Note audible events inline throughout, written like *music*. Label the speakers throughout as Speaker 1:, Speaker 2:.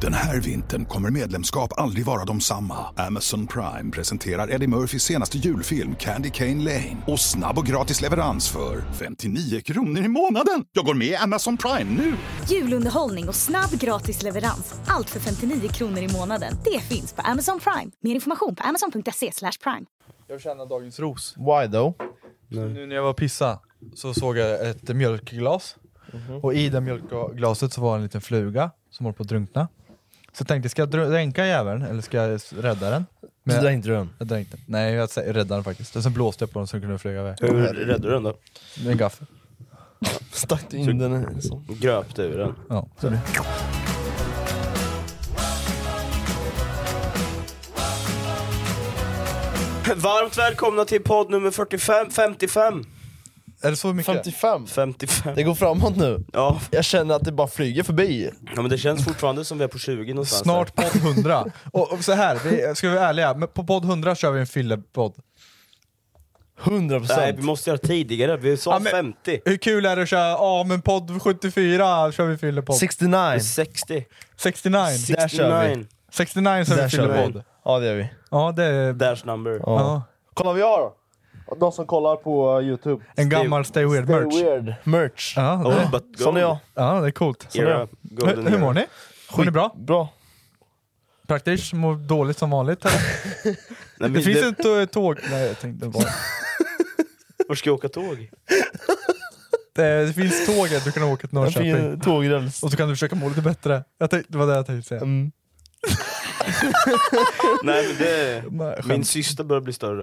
Speaker 1: Den här vintern kommer medlemskap aldrig vara de samma. Amazon Prime presenterar Eddie Murphys senaste julfilm Candy Cane Lane. Och snabb och gratis leverans för 59 kronor i månaden. Jag går med i Amazon Prime nu!
Speaker 2: Julunderhållning och snabb gratis leverans. Allt för 59 kronor i månaden. Det finns på Amazon Prime. Mer information på amazon.se slash prime.
Speaker 3: Jag känner dagens ros.
Speaker 4: Why though?
Speaker 3: Nu när jag var och pissa så såg jag ett mjölkglas. Och i det mjölkglaset så var en liten fluga som höll på att drunkna. Så jag tänkte, ska jag dr- dränka jäveln eller ska jag s- rädda den? Men
Speaker 4: Men...
Speaker 3: jag,
Speaker 4: Dränkte du den?
Speaker 3: jag dränkte den. Nej, jag sä- räddade den faktiskt. Och sen blåste jag på den så den kunde flyga iväg.
Speaker 5: Hur räddade du den då?
Speaker 3: Med en gaffel.
Speaker 4: Stack du in den? i- så.
Speaker 5: Gröp du ur den?
Speaker 3: Ja.
Speaker 5: Varmt välkomna till podd nummer 45, 55.
Speaker 3: Är det så mycket?
Speaker 4: 55?
Speaker 5: 55.
Speaker 4: Det går framåt nu.
Speaker 5: Ja,
Speaker 4: Jag känner att det bara flyger förbi.
Speaker 5: ja men det känns fortfarande som vi är på 20 någonstans.
Speaker 3: Snart podd 100. Och, och så här, vi, ska vi vara ärliga, men på podd 100 kör vi en fyllepodd.
Speaker 4: 100%
Speaker 5: där. Nej, vi måste göra tidigare. Vi sa
Speaker 3: Ja, men-
Speaker 5: 50.
Speaker 3: Hur kul är det att köra, ja men podd 74 kör vi fyllepodd.
Speaker 4: 69.
Speaker 5: 60.
Speaker 3: 69.
Speaker 4: Där kör vi.
Speaker 3: 69
Speaker 5: 69.
Speaker 3: kör
Speaker 4: Där
Speaker 3: vi
Speaker 4: kör vi.
Speaker 3: fyllepodd.
Speaker 4: Ja det gör vi.
Speaker 3: Ja, det är...
Speaker 5: Dash number.
Speaker 4: Ja.
Speaker 3: Ja.
Speaker 6: Kolla vi har då. De som kollar på eh, Youtube.
Speaker 3: En gammal Stay Weird
Speaker 6: Stay
Speaker 3: merch.
Speaker 6: weird.
Speaker 4: Merch.
Speaker 3: Ja, det,
Speaker 5: Oh, but
Speaker 4: Sån är jag.
Speaker 3: ja, det är coolt.
Speaker 5: Era
Speaker 3: Hur,
Speaker 5: golden
Speaker 3: hur
Speaker 5: era.
Speaker 3: mår ni? Mår ni bra?
Speaker 4: Bra.
Speaker 3: Praktiskt mår dåligt som vanligt. eller?
Speaker 5: Nej,
Speaker 3: Det
Speaker 5: men
Speaker 3: finns
Speaker 5: det,
Speaker 3: ett eh, tåg... Nej, jag tänkte bara...
Speaker 5: Var ska jag åka tåg?
Speaker 3: Det, det finns tåg att du kan åka till
Speaker 4: Jag fick
Speaker 3: Norrköping.
Speaker 4: en tågräls.
Speaker 3: Och så kan du försöka må lite bättre. Jag tänkte, det var det jag tänkte säga.
Speaker 4: Mm.
Speaker 5: Nej men det...
Speaker 3: Nej, skämt.
Speaker 5: Min syster börjar bli större.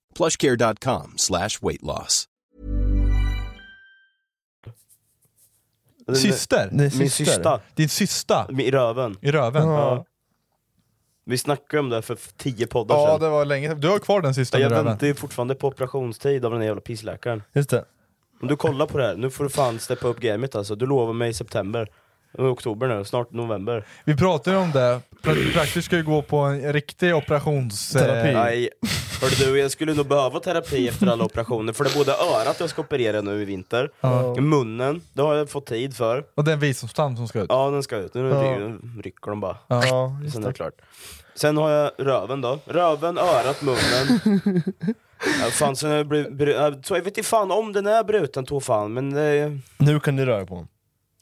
Speaker 7: plushcare.com slash weight loss.
Speaker 3: Syster?
Speaker 4: Nej,
Speaker 5: Min syster.
Speaker 3: Din systa?
Speaker 5: I röven.
Speaker 3: I röven?
Speaker 4: Ja.
Speaker 5: Vi snackade om det här för tio poddar
Speaker 3: Ja,
Speaker 5: sedan.
Speaker 3: det var länge Du har kvar den sista i
Speaker 5: Jag
Speaker 3: röven?
Speaker 5: väntar ju fortfarande på operationstid av den där jävla pissläkaren.
Speaker 4: Just det.
Speaker 5: Om du kollar på det här, nu får du fan steppa upp gamet alltså. Du lovade mig i september. Det är oktober nu, snart november.
Speaker 3: Vi pratade ju om det. Pra- Praktiskt ska ju gå på en riktig operations... eh,
Speaker 4: Terapi.
Speaker 5: Nej, hörde du, jag skulle nog behöva terapi efter alla operationer. För det är både örat jag ska operera nu i vinter, munnen, det har jag fått tid för.
Speaker 3: Och den visdomstand som ska ut.
Speaker 5: Ja, den ska ut. Nu ry- rycker de bara.
Speaker 4: Ja,
Speaker 5: Sen är det klart. Sen har jag röven då. Röven, örat, munnen. Ja, fan, sen har jag blivit bru- ja, så jag vet inte fan om den är bruten, tog fan. Men det,
Speaker 4: nu kan du röra på honom.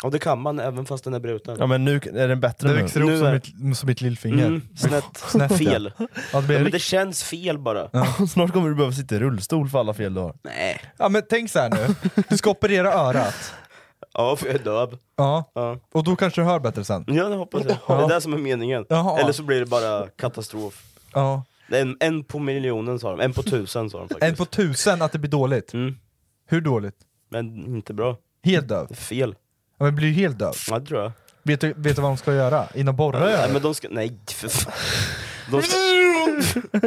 Speaker 5: ja, det kan man även fast den är bruten.
Speaker 4: Ja men nu kan- är den bättre
Speaker 3: Det
Speaker 4: nu.
Speaker 3: växer
Speaker 5: Nu
Speaker 3: upp som
Speaker 5: är-
Speaker 3: mitt, som mitt lillfinger.
Speaker 5: Mm, snett,
Speaker 3: Snett, *laughs* ja.
Speaker 5: fel.
Speaker 3: Ja, det blir
Speaker 5: Ja, men
Speaker 3: rikt-
Speaker 5: det känns fel bara.
Speaker 4: *laughs* Snart kommer du behöva sitta i rullstol för alla fel du har.
Speaker 5: Nej.
Speaker 3: ja, men tänk så här nu. Du ska operera örat.
Speaker 5: Ja, för jag är döv.
Speaker 3: Ja.
Speaker 5: Ja.
Speaker 3: Och då kanske du hör bättre sen.
Speaker 5: Ja, det hoppas jag. Det är det som är meningen.
Speaker 3: Jaha.
Speaker 5: Eller så blir det bara katastrof.
Speaker 3: Ja.
Speaker 5: Det är En, en på miljonen sa de, en på tusen sa de
Speaker 3: *laughs*
Speaker 5: faktiskt.
Speaker 3: En på tusen att det blir dåligt.
Speaker 5: Mm.
Speaker 3: Hur dåligt?
Speaker 5: Men inte bra.
Speaker 3: Helt döv?
Speaker 5: Det är fel.
Speaker 3: Ja, men blir du helt döv?
Speaker 5: Ja, det tror jag.
Speaker 3: Vet du, vet du vad de ska göra? Innan borra
Speaker 5: Nej,
Speaker 3: gör
Speaker 5: men de ska... Nej, för fan.
Speaker 3: *laughs*
Speaker 5: De ska...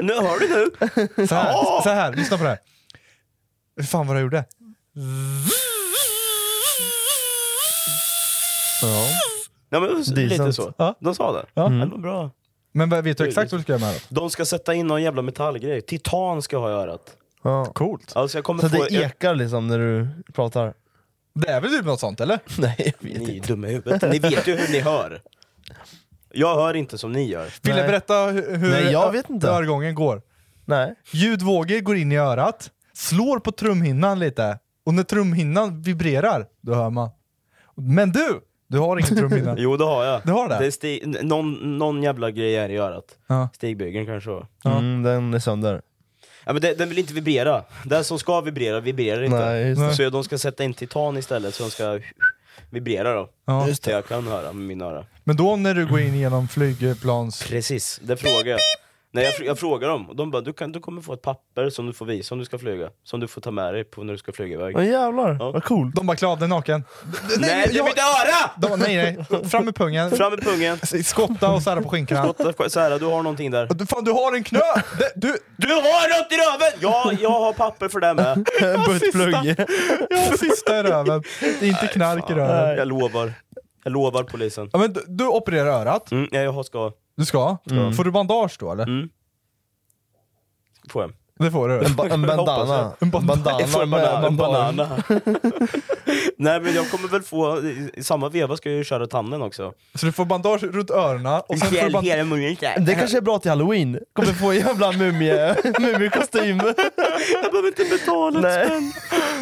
Speaker 5: nu hör du nu!
Speaker 3: så här, så här, lyssna på det här. Fy fan vad du gjorde.
Speaker 4: Ja.
Speaker 5: Nej, men, lite
Speaker 4: Decent.
Speaker 5: så.
Speaker 3: Ja.
Speaker 5: De sa det.
Speaker 3: Ja. Mm.
Speaker 5: Ja. Det var bra.
Speaker 3: Men vad- vet du exakt vad du ska göra med örat?
Speaker 5: De ska sätta in någon jävla metallgrej. Titan ska jag ha i örat.
Speaker 4: Ja.
Speaker 3: Coolt.
Speaker 5: Alltså jag kommer
Speaker 4: Så
Speaker 5: få...
Speaker 4: det ekar liksom när du pratar? *laughs*
Speaker 3: Det är väl typ något sånt eller?
Speaker 4: Nej, jag
Speaker 5: jag,
Speaker 4: vet
Speaker 5: ni är
Speaker 4: inte.
Speaker 5: dumma i huvudet. *laughs* Ni vet ju hur ni hör. Jag hör inte som ni gör.
Speaker 3: Ville
Speaker 4: Nej.
Speaker 3: berätta hu- hur
Speaker 4: Nej, jag vet inte.
Speaker 3: örgången går.
Speaker 4: Nej.
Speaker 3: Ljudvågor går in i örat, slår på trumhinnan lite och när trumhinnan vibrerar, då hör man. Men du! Du har ingen
Speaker 4: *laughs*
Speaker 3: trumhinna.
Speaker 5: Jo det har jag.
Speaker 3: Du har det?
Speaker 5: är sti- n- någon, någon jävla grej är i örat.
Speaker 3: Ja.
Speaker 5: Stigbygeln kanske var.
Speaker 4: Mm, den är sönder.
Speaker 5: Ja, men det, den vill inte vibrera. Den som ska vibrera vibrerar inte.
Speaker 4: Nej, just det.
Speaker 5: Så de ska sätta in titan istället så de ska vibrera då.
Speaker 3: Ja.
Speaker 5: Så jag kan höra med mina öra.
Speaker 3: Men då när du går in genom flygplans...
Speaker 5: Precis, det frågar jag. Nej, jag, fr- jag frågar dem och de bara du, kan, du kommer få ett papper som du får visa om du ska flyga. Som du får ta med dig på när du ska flyga iväg.
Speaker 4: Åh jävlar,
Speaker 5: Ja.
Speaker 4: vad coolt.
Speaker 3: De bara klär av dig naken.
Speaker 5: Nej, det är mitt öra!
Speaker 3: De, nej nej, fram med pungen.
Speaker 5: Fram med pungen.
Speaker 3: Skotta och sära på skinkorna.
Speaker 5: Spotta- Så här, du har någonting där.
Speaker 3: Du, fan du har en knö! Det-
Speaker 4: *laughs*
Speaker 3: Du,
Speaker 5: Du har något i röven! Ja, jag har papper för
Speaker 3: *laughs*
Speaker 5: det med.
Speaker 4: Buttplugg.
Speaker 3: jag har sista i röven. Det är inte knark i röven.
Speaker 5: Jag lovar. Jag lovar polisen.
Speaker 3: Ja, men du, du opererar örat,
Speaker 5: Mm, nej, jag har ska...
Speaker 3: du ska.
Speaker 4: Mm.
Speaker 3: Får du bandage då eller?
Speaker 5: Får jag?
Speaker 3: Det får du.
Speaker 4: Ba- Mm. En bandana.
Speaker 3: En bandana.
Speaker 5: Jag får en banana. En
Speaker 4: bandage. *laughs*
Speaker 5: banana. Nej men jag kommer väl få, i i samma veva ska jag ju köra tanden också.
Speaker 3: Så du får bandage runt öronen och sen får du
Speaker 5: Fjäll
Speaker 3: band-
Speaker 5: hela munnen inte.
Speaker 4: Det kanske är bra till halloween, kommer få en jävla mumie,
Speaker 5: *laughs*
Speaker 4: mumiekostym.
Speaker 5: Jag behöver inte betala
Speaker 4: Nej.
Speaker 5: spänn.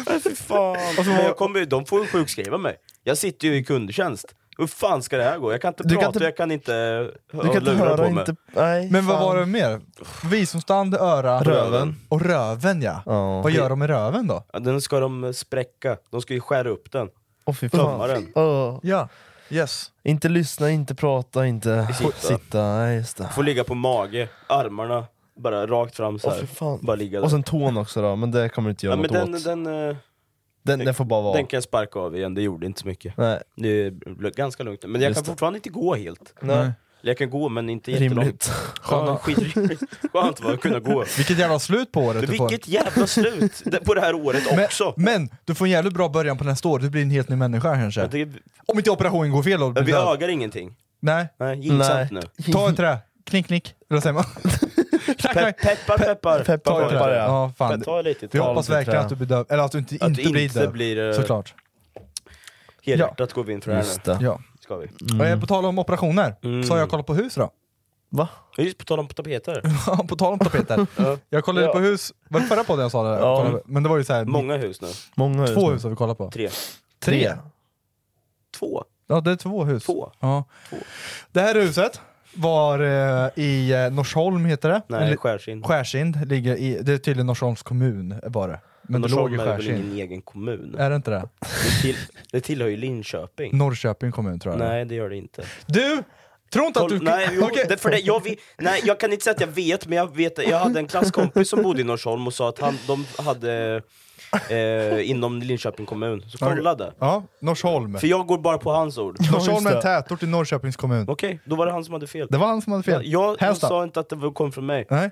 Speaker 5: Nej, Fy fan. men jag kommer, ju- de får ju sjukskriva mig. Jag sitter ju i kundtjänst. Hur fan ska det här gå? Jag kan inte
Speaker 4: Du kan
Speaker 5: prata,
Speaker 4: inte-
Speaker 5: jag kan inte
Speaker 4: Du kan inte höra, inte... Nej,
Speaker 3: Men vad
Speaker 4: fan.
Speaker 3: var det mer? Visumstand, öra
Speaker 4: Röven.
Speaker 3: och röven ja.
Speaker 4: Ja.
Speaker 3: Vad gör de med röven då?
Speaker 5: Ja, Den ska de spräcka, de ska ju skära upp den.
Speaker 4: Åh fy
Speaker 5: Tömma
Speaker 4: fan.
Speaker 5: den.
Speaker 4: Åh.
Speaker 3: Ja, yes.
Speaker 4: Inte lyssna, inte prata, inte
Speaker 5: Sitta.
Speaker 4: sitta. sitta. Nej, just det.
Speaker 5: Får ligga på mage, armarna bara rakt fram så
Speaker 4: Åh,
Speaker 5: här.
Speaker 4: fy fan.
Speaker 5: Bara ligga där.
Speaker 4: Och sen tån också då, men det kommer du inte
Speaker 5: ja,
Speaker 4: göra
Speaker 5: men
Speaker 4: något
Speaker 5: den,
Speaker 4: åt.
Speaker 5: den, eh,
Speaker 4: Den, den får bara vara.
Speaker 5: den kan jag sparka av igen, det gjorde inte så mycket.
Speaker 4: Nej,
Speaker 5: Det är l- ganska lugnt. Men jag
Speaker 4: Just
Speaker 5: kan
Speaker 4: det.
Speaker 5: fortfarande inte gå helt.
Speaker 4: nej.
Speaker 5: Jag kan gå men inte jättelångt.
Speaker 4: rimligt.
Speaker 5: Ja, *laughs* skitrimligt. Skönt va, att
Speaker 4: *laughs*
Speaker 5: kunna gå.
Speaker 3: Vilket jävla slut på året
Speaker 5: Men
Speaker 3: du får.
Speaker 5: vilket jävla slut det- på det här året
Speaker 3: Men,
Speaker 5: också!
Speaker 3: men du får en jävligt bra början på nästa år, du blir en helt ny människa kanske.
Speaker 5: Jag tycker-
Speaker 3: Om inte operationen går fel då blir
Speaker 5: vi
Speaker 3: du död.
Speaker 5: ögar ingenting.
Speaker 3: Nej,
Speaker 5: Nej, gillsamt nu.
Speaker 4: Nej.
Speaker 3: ta ett trä. Knick knick, eller vad säger man? knack
Speaker 5: Pe
Speaker 3: knack.
Speaker 5: peppar, peppar.
Speaker 4: peppar,
Speaker 5: Ta
Speaker 3: Ta
Speaker 5: lite.
Speaker 3: ett trä. Ja, fan.
Speaker 5: Pe- Ta lite.
Speaker 3: Vi
Speaker 5: Ta
Speaker 3: hoppas
Speaker 5: lite.
Speaker 3: verkligen
Speaker 4: trä.
Speaker 3: att du blir döv, eller att du inte,
Speaker 5: Att
Speaker 3: inte
Speaker 5: det inte
Speaker 3: blir döv.
Speaker 5: blir, eh,
Speaker 3: Såklart.
Speaker 5: Helhjärtat går vi in för det här
Speaker 4: Just
Speaker 5: nu.
Speaker 4: det.
Speaker 3: Ja.
Speaker 5: Ska vi.
Speaker 3: Mm. På tal om operationer, så har jag kollat på hus då.
Speaker 4: Va?
Speaker 5: Ja, Just på tal om tapeter.
Speaker 3: Ja, på tal om tapeter. jag kollade
Speaker 5: *laughs* Ja.
Speaker 3: på hus, var det förra podden jag sa det? där?
Speaker 4: Ja.
Speaker 3: Kollade- Men det var ju såhär,
Speaker 5: Många hus nu.
Speaker 4: Många hus.
Speaker 3: två
Speaker 4: nu.
Speaker 3: hus har vi kollat på.
Speaker 5: Tre.
Speaker 4: Tre.
Speaker 5: Två.
Speaker 3: Ja, det är två hus.
Speaker 5: Två.
Speaker 3: Ja. Det här huset var eh, i eh, Norsholm, heter det.
Speaker 5: Nej,
Speaker 3: Eller-
Speaker 5: Skärsind.
Speaker 3: Skärsind ligger i, det är tydligen Norsholms kommun var det. Men det låg i Äh.
Speaker 5: Norsholm är väl
Speaker 3: Skärsind.
Speaker 5: ingen egen kommun?
Speaker 3: Är det inte det?
Speaker 5: Det, till, det tillhör ju Linköping.
Speaker 3: Norrköping kommun tror jag. det är.
Speaker 5: Nej, det gör det inte.
Speaker 3: Du! Tror inte att du...
Speaker 5: Nej, jo,
Speaker 3: Okej.
Speaker 5: det, för det, jag, vet- nej, jag kan inte säga att jag vet, men jag vet jag hade en klasskompis som bodde i Norsholm och sa att han, de hade eh, inom Linköping kommun. Så kollade.
Speaker 3: Ja, Norsholm.
Speaker 5: För jag går bara på hans ord.
Speaker 3: Norsholm är en tätort i Norrköpings kommun.
Speaker 5: Okej, då var det han som hade fel.
Speaker 3: Det var han som hade fel.
Speaker 5: Jag, jag
Speaker 3: Hästa.
Speaker 5: sa inte att det var- kom från mig.
Speaker 3: Nej.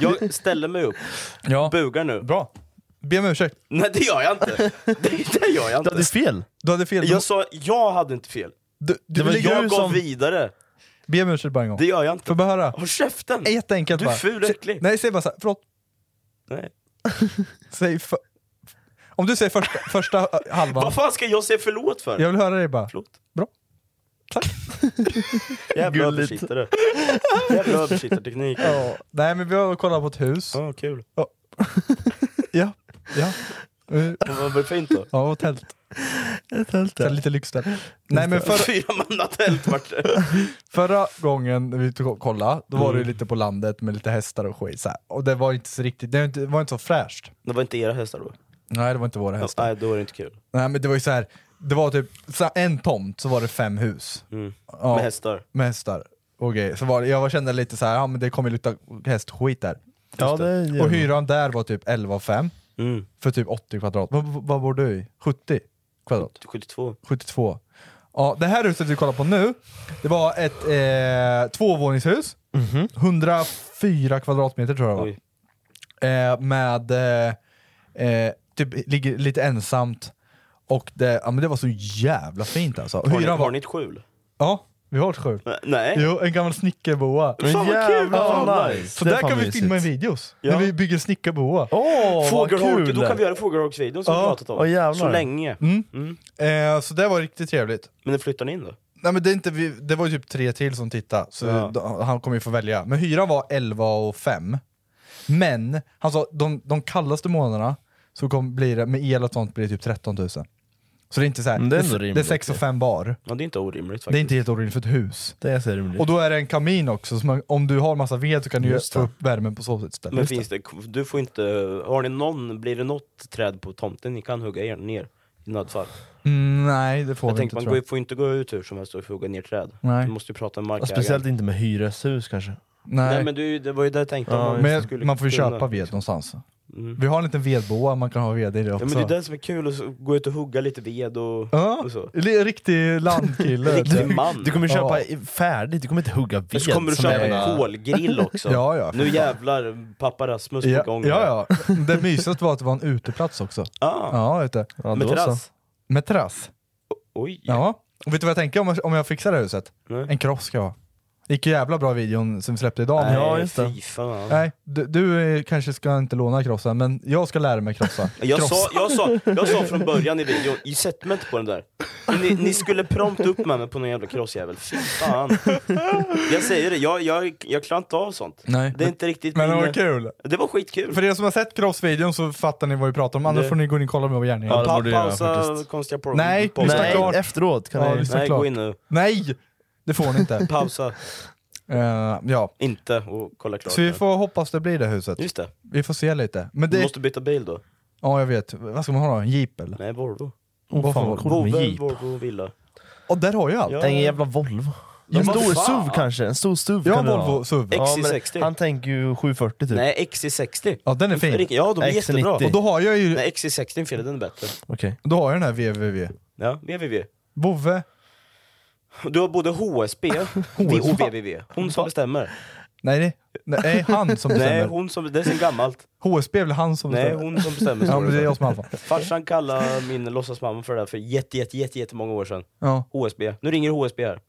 Speaker 5: Jag ställer mig upp,
Speaker 3: Ja.
Speaker 5: bugar nu.
Speaker 3: Bra. Be om ursäkt.
Speaker 5: Nej det gör jag inte! Det, det gör jag
Speaker 4: Du hade
Speaker 5: inte.
Speaker 4: fel.
Speaker 3: Du hade fel.
Speaker 5: Jag sa, jag hade inte fel.
Speaker 3: du, du,
Speaker 4: det var
Speaker 3: ligger-
Speaker 5: Jag
Speaker 4: du
Speaker 5: gav
Speaker 4: som-
Speaker 5: vidare.
Speaker 3: Be om ursäkt bara en gång.
Speaker 5: Det gör
Speaker 3: Får
Speaker 5: jag inte.
Speaker 3: jag bara höra?
Speaker 5: Håll käften!
Speaker 3: Är Jätteenkelt
Speaker 5: Du är
Speaker 3: bara.
Speaker 5: ful och äcklig.
Speaker 3: Nej, säg bara såhär, förlåt.
Speaker 5: Nej.
Speaker 3: Säg för... Om du säger
Speaker 5: *laughs*
Speaker 3: första, första ö, halvan.
Speaker 5: Vad fan ska jag säga förlåt för?
Speaker 3: Jag vill höra dig bara.
Speaker 5: Förlåt.
Speaker 3: Bra. Tack.
Speaker 5: *laughs* Jävla
Speaker 4: Gulligt.
Speaker 5: översittare. Jävla översittarteknik. Ja,
Speaker 3: Nej men vi har kollat på ett hus.
Speaker 5: kul.
Speaker 3: Ja. Ja. Eh,
Speaker 5: Vad var det fint då?
Speaker 3: Ja, och tält.
Speaker 4: Tält,
Speaker 3: Så lite lyxtält. Nej men förra,
Speaker 5: *laughs* Fyra manna tält vart det.
Speaker 3: förra gången vi tog- kollade, då var det ju
Speaker 5: Mm.
Speaker 3: lite på landet med lite hästar och skit så här. Och det var inte så riktigt, det var inte, det var inte så fräscht.
Speaker 5: Det var inte era hästar då?
Speaker 3: Nej det var inte våra hästar.
Speaker 5: Nej, då är det inte kul.
Speaker 3: Nej men det var ju så här. det var typ så här, en tomt så var det fem hus. Ja.
Speaker 5: Mm. Med hästar.
Speaker 3: Med hästar. Och grejer. så var det, jag kände lite så här, ja men det kommer lukta hästskit där.
Speaker 4: Ja, det gör
Speaker 3: Och
Speaker 4: det.
Speaker 3: hyran där var typ 11 5
Speaker 5: Mm.
Speaker 3: för typ 80 kvadrat. Vad, vad vad bor du i? 70 kvadrat?
Speaker 5: 72.
Speaker 3: 72. Ja, det här huset vi kollar på nu, det var ett eh, tvåvåningshus.
Speaker 4: Mhm.
Speaker 3: 104 kvadratmeter tror jag det var.
Speaker 5: Oj.
Speaker 3: Eh, med, eh, eh, typ ligger lite ensamt. Och det, ja, men det var så jävla fint alltså.
Speaker 5: Har ni,
Speaker 3: Hyran
Speaker 5: har
Speaker 3: var
Speaker 5: ni ett skjul?
Speaker 3: Ja, vi har varit sjukt.
Speaker 5: Nej.
Speaker 4: Eh.
Speaker 3: Jo, en gammal snickarboa.
Speaker 5: Men Fan, vad kul!
Speaker 4: jävlar,
Speaker 5: Fan,
Speaker 4: vad nice.
Speaker 3: Så
Speaker 4: Det är
Speaker 3: där
Speaker 4: fan
Speaker 3: kan vi
Speaker 4: mysigt.
Speaker 3: filma videos.
Speaker 5: Ja.
Speaker 3: När vi bygger en snickarboa.
Speaker 4: Åh, vad
Speaker 5: Fågelholk,
Speaker 4: kul!
Speaker 5: då kan vi Mm. göra fågelholksvideon som vi pratat om.
Speaker 4: åh, jävlar.
Speaker 5: så länge.
Speaker 3: Mm. Eh, så det var riktigt trevligt.
Speaker 5: Men nu flyttar ni in då?
Speaker 3: Nej men det, är inte, vi, det var ju typ tre till som tittade, så
Speaker 5: Ja.
Speaker 3: d- han kommer ju få välja. Men hyran var 11 och 5. Men han sa de, de kallaste månaderna så kom, blir det, med el och sånt blir det typ 13 000. Så det är inte såhär,
Speaker 4: Men det är ändå
Speaker 3: det är
Speaker 4: rimligt,
Speaker 3: 6 och
Speaker 4: ju.
Speaker 3: 5 bar.
Speaker 5: Ja, det är inte orimligt faktiskt.
Speaker 3: Det är inte helt orimligt för ett hus.
Speaker 4: Det är så rimligt.
Speaker 3: Och då är det en kamin också, så man, om du har massa ved så kan du ju
Speaker 4: Just
Speaker 3: få
Speaker 4: det.
Speaker 3: upp värmen på så sätt istället.
Speaker 5: Men finns det, du får inte, har ni någon, blir det något träd på tomten ni kan hugga er ner? I nödfall.
Speaker 3: Mm, nej, det får
Speaker 5: Jag
Speaker 3: vi
Speaker 5: tänkte
Speaker 3: inte
Speaker 5: man
Speaker 3: tror
Speaker 5: går,
Speaker 3: jag.
Speaker 5: får inte gå ut hur som helst och hugga ner träd.
Speaker 3: Nej.
Speaker 5: Du måste ju prata med
Speaker 4: Ja,
Speaker 5: markägaren.
Speaker 4: Speciellt inte med hyreshus kanske.
Speaker 3: Nej.
Speaker 5: Nej men du, det var ju det jag tänkte. om
Speaker 4: Ja,
Speaker 5: man
Speaker 3: Men
Speaker 5: skulle
Speaker 3: man får ju
Speaker 5: kunna-
Speaker 3: köpa ved någonstans.
Speaker 5: Mm.
Speaker 3: Vi har en liten vedboa man kan ha ved i det
Speaker 5: Ja,
Speaker 3: också.
Speaker 5: men det är det som är kul, att så- gå ut och hugga lite ved och,
Speaker 3: Ja,
Speaker 5: och så.
Speaker 3: li- riktig landkille.
Speaker 5: *laughs* Riktig man.
Speaker 4: Du kommer
Speaker 3: Ja.
Speaker 4: köpa i- färdigt, du kommer inte hugga ved.
Speaker 5: Och så kommer du
Speaker 4: som
Speaker 5: köpa
Speaker 4: är-
Speaker 5: en kolgrill också.
Speaker 3: Ja, ja.
Speaker 5: Nu jävlar pappa Rasmus på
Speaker 3: Ja,
Speaker 5: gång.
Speaker 3: ja, ja. Det mysigaste var att det var en uteplats också.
Speaker 5: Ah,
Speaker 3: Ja, vet du.
Speaker 4: Ja,
Speaker 5: med
Speaker 4: då så.
Speaker 5: terrass.
Speaker 3: Med terrass.
Speaker 5: Oj.
Speaker 3: Ja. Och vet du vad jag tänker om, jag- om jag fixar det här huset?
Speaker 5: Nej.
Speaker 3: En kross ska jag ha. gick ju jävla bra videon som vi släppte idag. men-
Speaker 5: Nej,
Speaker 4: Ja, just det.
Speaker 5: fy fan.
Speaker 3: Nej, du, du eh, kanske ska inte låna krossen, men jag ska lära mig krossa.
Speaker 5: Jag
Speaker 3: Krossa.
Speaker 5: sa, jag, sa, jag sa från början i videon, "I- sätt mig inte på den där. Ni, ni skulle prompt upp med mig på någon jävla krossjävel, fy fan. Jag säger det, jag, jag, jag klarar inte av sånt.
Speaker 3: Nej.
Speaker 5: Det är inte riktigt
Speaker 3: Men det
Speaker 5: min-
Speaker 3: var kul.
Speaker 5: Det var skitkul.
Speaker 3: För er som har sett crossvideon så fattar ni vad vi pratar om, annars
Speaker 5: Det-
Speaker 3: får ni gå in och kolla med vår gärning.
Speaker 4: Ja, det
Speaker 5: Pa
Speaker 4: borde jag göra
Speaker 5: pausa
Speaker 4: faktiskt.
Speaker 5: konstiga porr.
Speaker 3: Nej,
Speaker 5: pausa.
Speaker 3: lyssna
Speaker 4: Nej,
Speaker 3: klart.
Speaker 4: efteråt kan
Speaker 3: Ja,
Speaker 4: ni...
Speaker 3: lyssna
Speaker 5: Nej,
Speaker 3: klart.
Speaker 5: gå in nu.
Speaker 3: Nej! Det får ni inte.
Speaker 5: *laughs* Pausa.
Speaker 3: Eh, ja.
Speaker 5: Inte och kolla klart.
Speaker 3: Så vi
Speaker 5: nu.
Speaker 3: får hoppas det blir det huset.
Speaker 5: Just det,
Speaker 3: Vi får se lite. Men
Speaker 5: du
Speaker 3: det...
Speaker 5: måste byta bil då.
Speaker 3: Ja, jag vet. Vad ska man ha då? En jeep eller?
Speaker 5: Nej, Volvo.
Speaker 4: Oh, fan vad coolt med
Speaker 5: Volvo,
Speaker 4: jeep.
Speaker 5: Volvo villa.
Speaker 3: Och där har jag!
Speaker 5: Ja.
Speaker 3: Ja,
Speaker 4: En jävla Volvo.
Speaker 5: Ja,
Speaker 4: en
Speaker 5: men
Speaker 4: stor
Speaker 5: fan.
Speaker 4: SUV kanske? En stor SUV
Speaker 3: jag har
Speaker 4: kan
Speaker 3: en
Speaker 4: du ha.
Speaker 3: Volvo SUV.
Speaker 5: Ja.
Speaker 4: Ja, men
Speaker 5: XC60.
Speaker 4: Han tänker ju 740 typ.
Speaker 5: Nej, XC60.
Speaker 3: Ja, den är fin.
Speaker 5: Rick- Ja, de är
Speaker 4: XC90.
Speaker 5: jättebra.
Speaker 3: Och då har jag ju
Speaker 5: Nej, XC60 är fel, den är bättre.
Speaker 4: Okej.
Speaker 3: då har jag den här VVV.
Speaker 5: Ja, VVV.
Speaker 3: Bove?
Speaker 5: Du har
Speaker 3: *laughs*
Speaker 5: både HSB och VVV. Hon som bestämmer.
Speaker 3: Nej, det- nej, han som
Speaker 5: *laughs* Nej,
Speaker 3: bestämmer.
Speaker 5: hon som, det är sen gammalt.
Speaker 3: HSB är väl han som
Speaker 5: Nej,
Speaker 3: bestämmer?
Speaker 5: hon som bestämmer.
Speaker 3: Ja,
Speaker 5: står
Speaker 3: men det är
Speaker 5: för.
Speaker 3: jag som är alfa.
Speaker 5: Farsan kallade min låtsasmamma för det där för jätte, jätte, jätte, jättemånga år sedan.
Speaker 3: Ja,
Speaker 5: HSB. Nu ringer HSB här.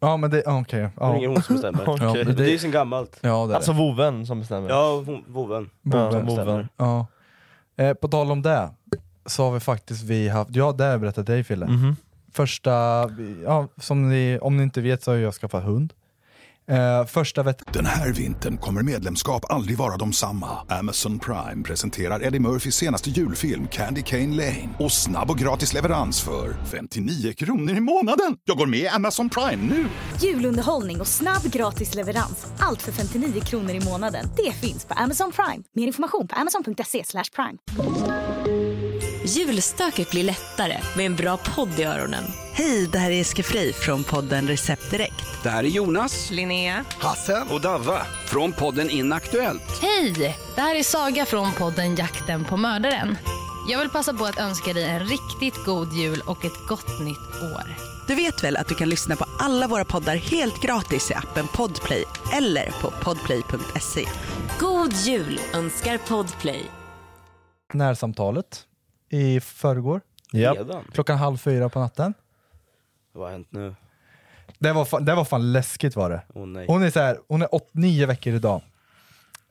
Speaker 3: ja men det... ja, Okej.
Speaker 5: Nu
Speaker 3: Ja.
Speaker 5: ringer hon som bestämmer.
Speaker 3: *laughs*
Speaker 4: Okay.
Speaker 3: Ja,
Speaker 5: Men
Speaker 3: men
Speaker 5: Det är ju
Speaker 3: det,
Speaker 5: sen gammalt.
Speaker 3: ja, det är
Speaker 4: Alltså
Speaker 3: det.
Speaker 4: voven som bestämmer.
Speaker 5: Ja, hon- voven.
Speaker 4: ja
Speaker 3: Bove.
Speaker 4: voven.
Speaker 3: Ja. Eh, på tal om det, så har vi faktiskt vi haft, ja det har jag berättat dig Fille. Första, ja, som ni, om ni inte vet så har jag skaffat hund. Eh, första vet
Speaker 1: Den här vintern kommer medlemskap aldrig vara de samma. Amazon Prime presenterar Eddie Murphys senaste julfilm Candy Cane Lane. Och snabb och gratis leverans för 59 kronor i månaden. Jag går med i Amazon Prime nu!
Speaker 8: Julunderhållning och snabb gratis leverans. Allt för 59 kronor i månaden. Det finns på Amazon Prime. Mer information på amazon.se slash prime.
Speaker 9: Julstöket blir lättare med en bra podd i öronen.
Speaker 10: Hej, det här är Eske Fri från podden Recept Direkt.
Speaker 11: Det här är Jonas,
Speaker 9: Linnea.
Speaker 11: Hassen och Davva från podden Inaktuellt.
Speaker 10: Hej, det här är Saga från podden Jakten på mördaren. Jag vill passa på att önska dig en riktigt god jul och ett gott nytt år.
Speaker 9: Du vet väl att du kan lyssna på alla våra poddar helt gratis i appen Podplay eller på podplay.se.
Speaker 10: God jul önskar Podplay.
Speaker 3: närsamtalet i förrgår,
Speaker 4: Japp.
Speaker 5: Redan?
Speaker 3: klockan halv fyra på natten.
Speaker 5: Vad har hänt nu?
Speaker 3: Det var fan, det var fan läskigt var det.
Speaker 5: Åh nej.
Speaker 3: Hon är så här, hon är åt, nio veckor idag.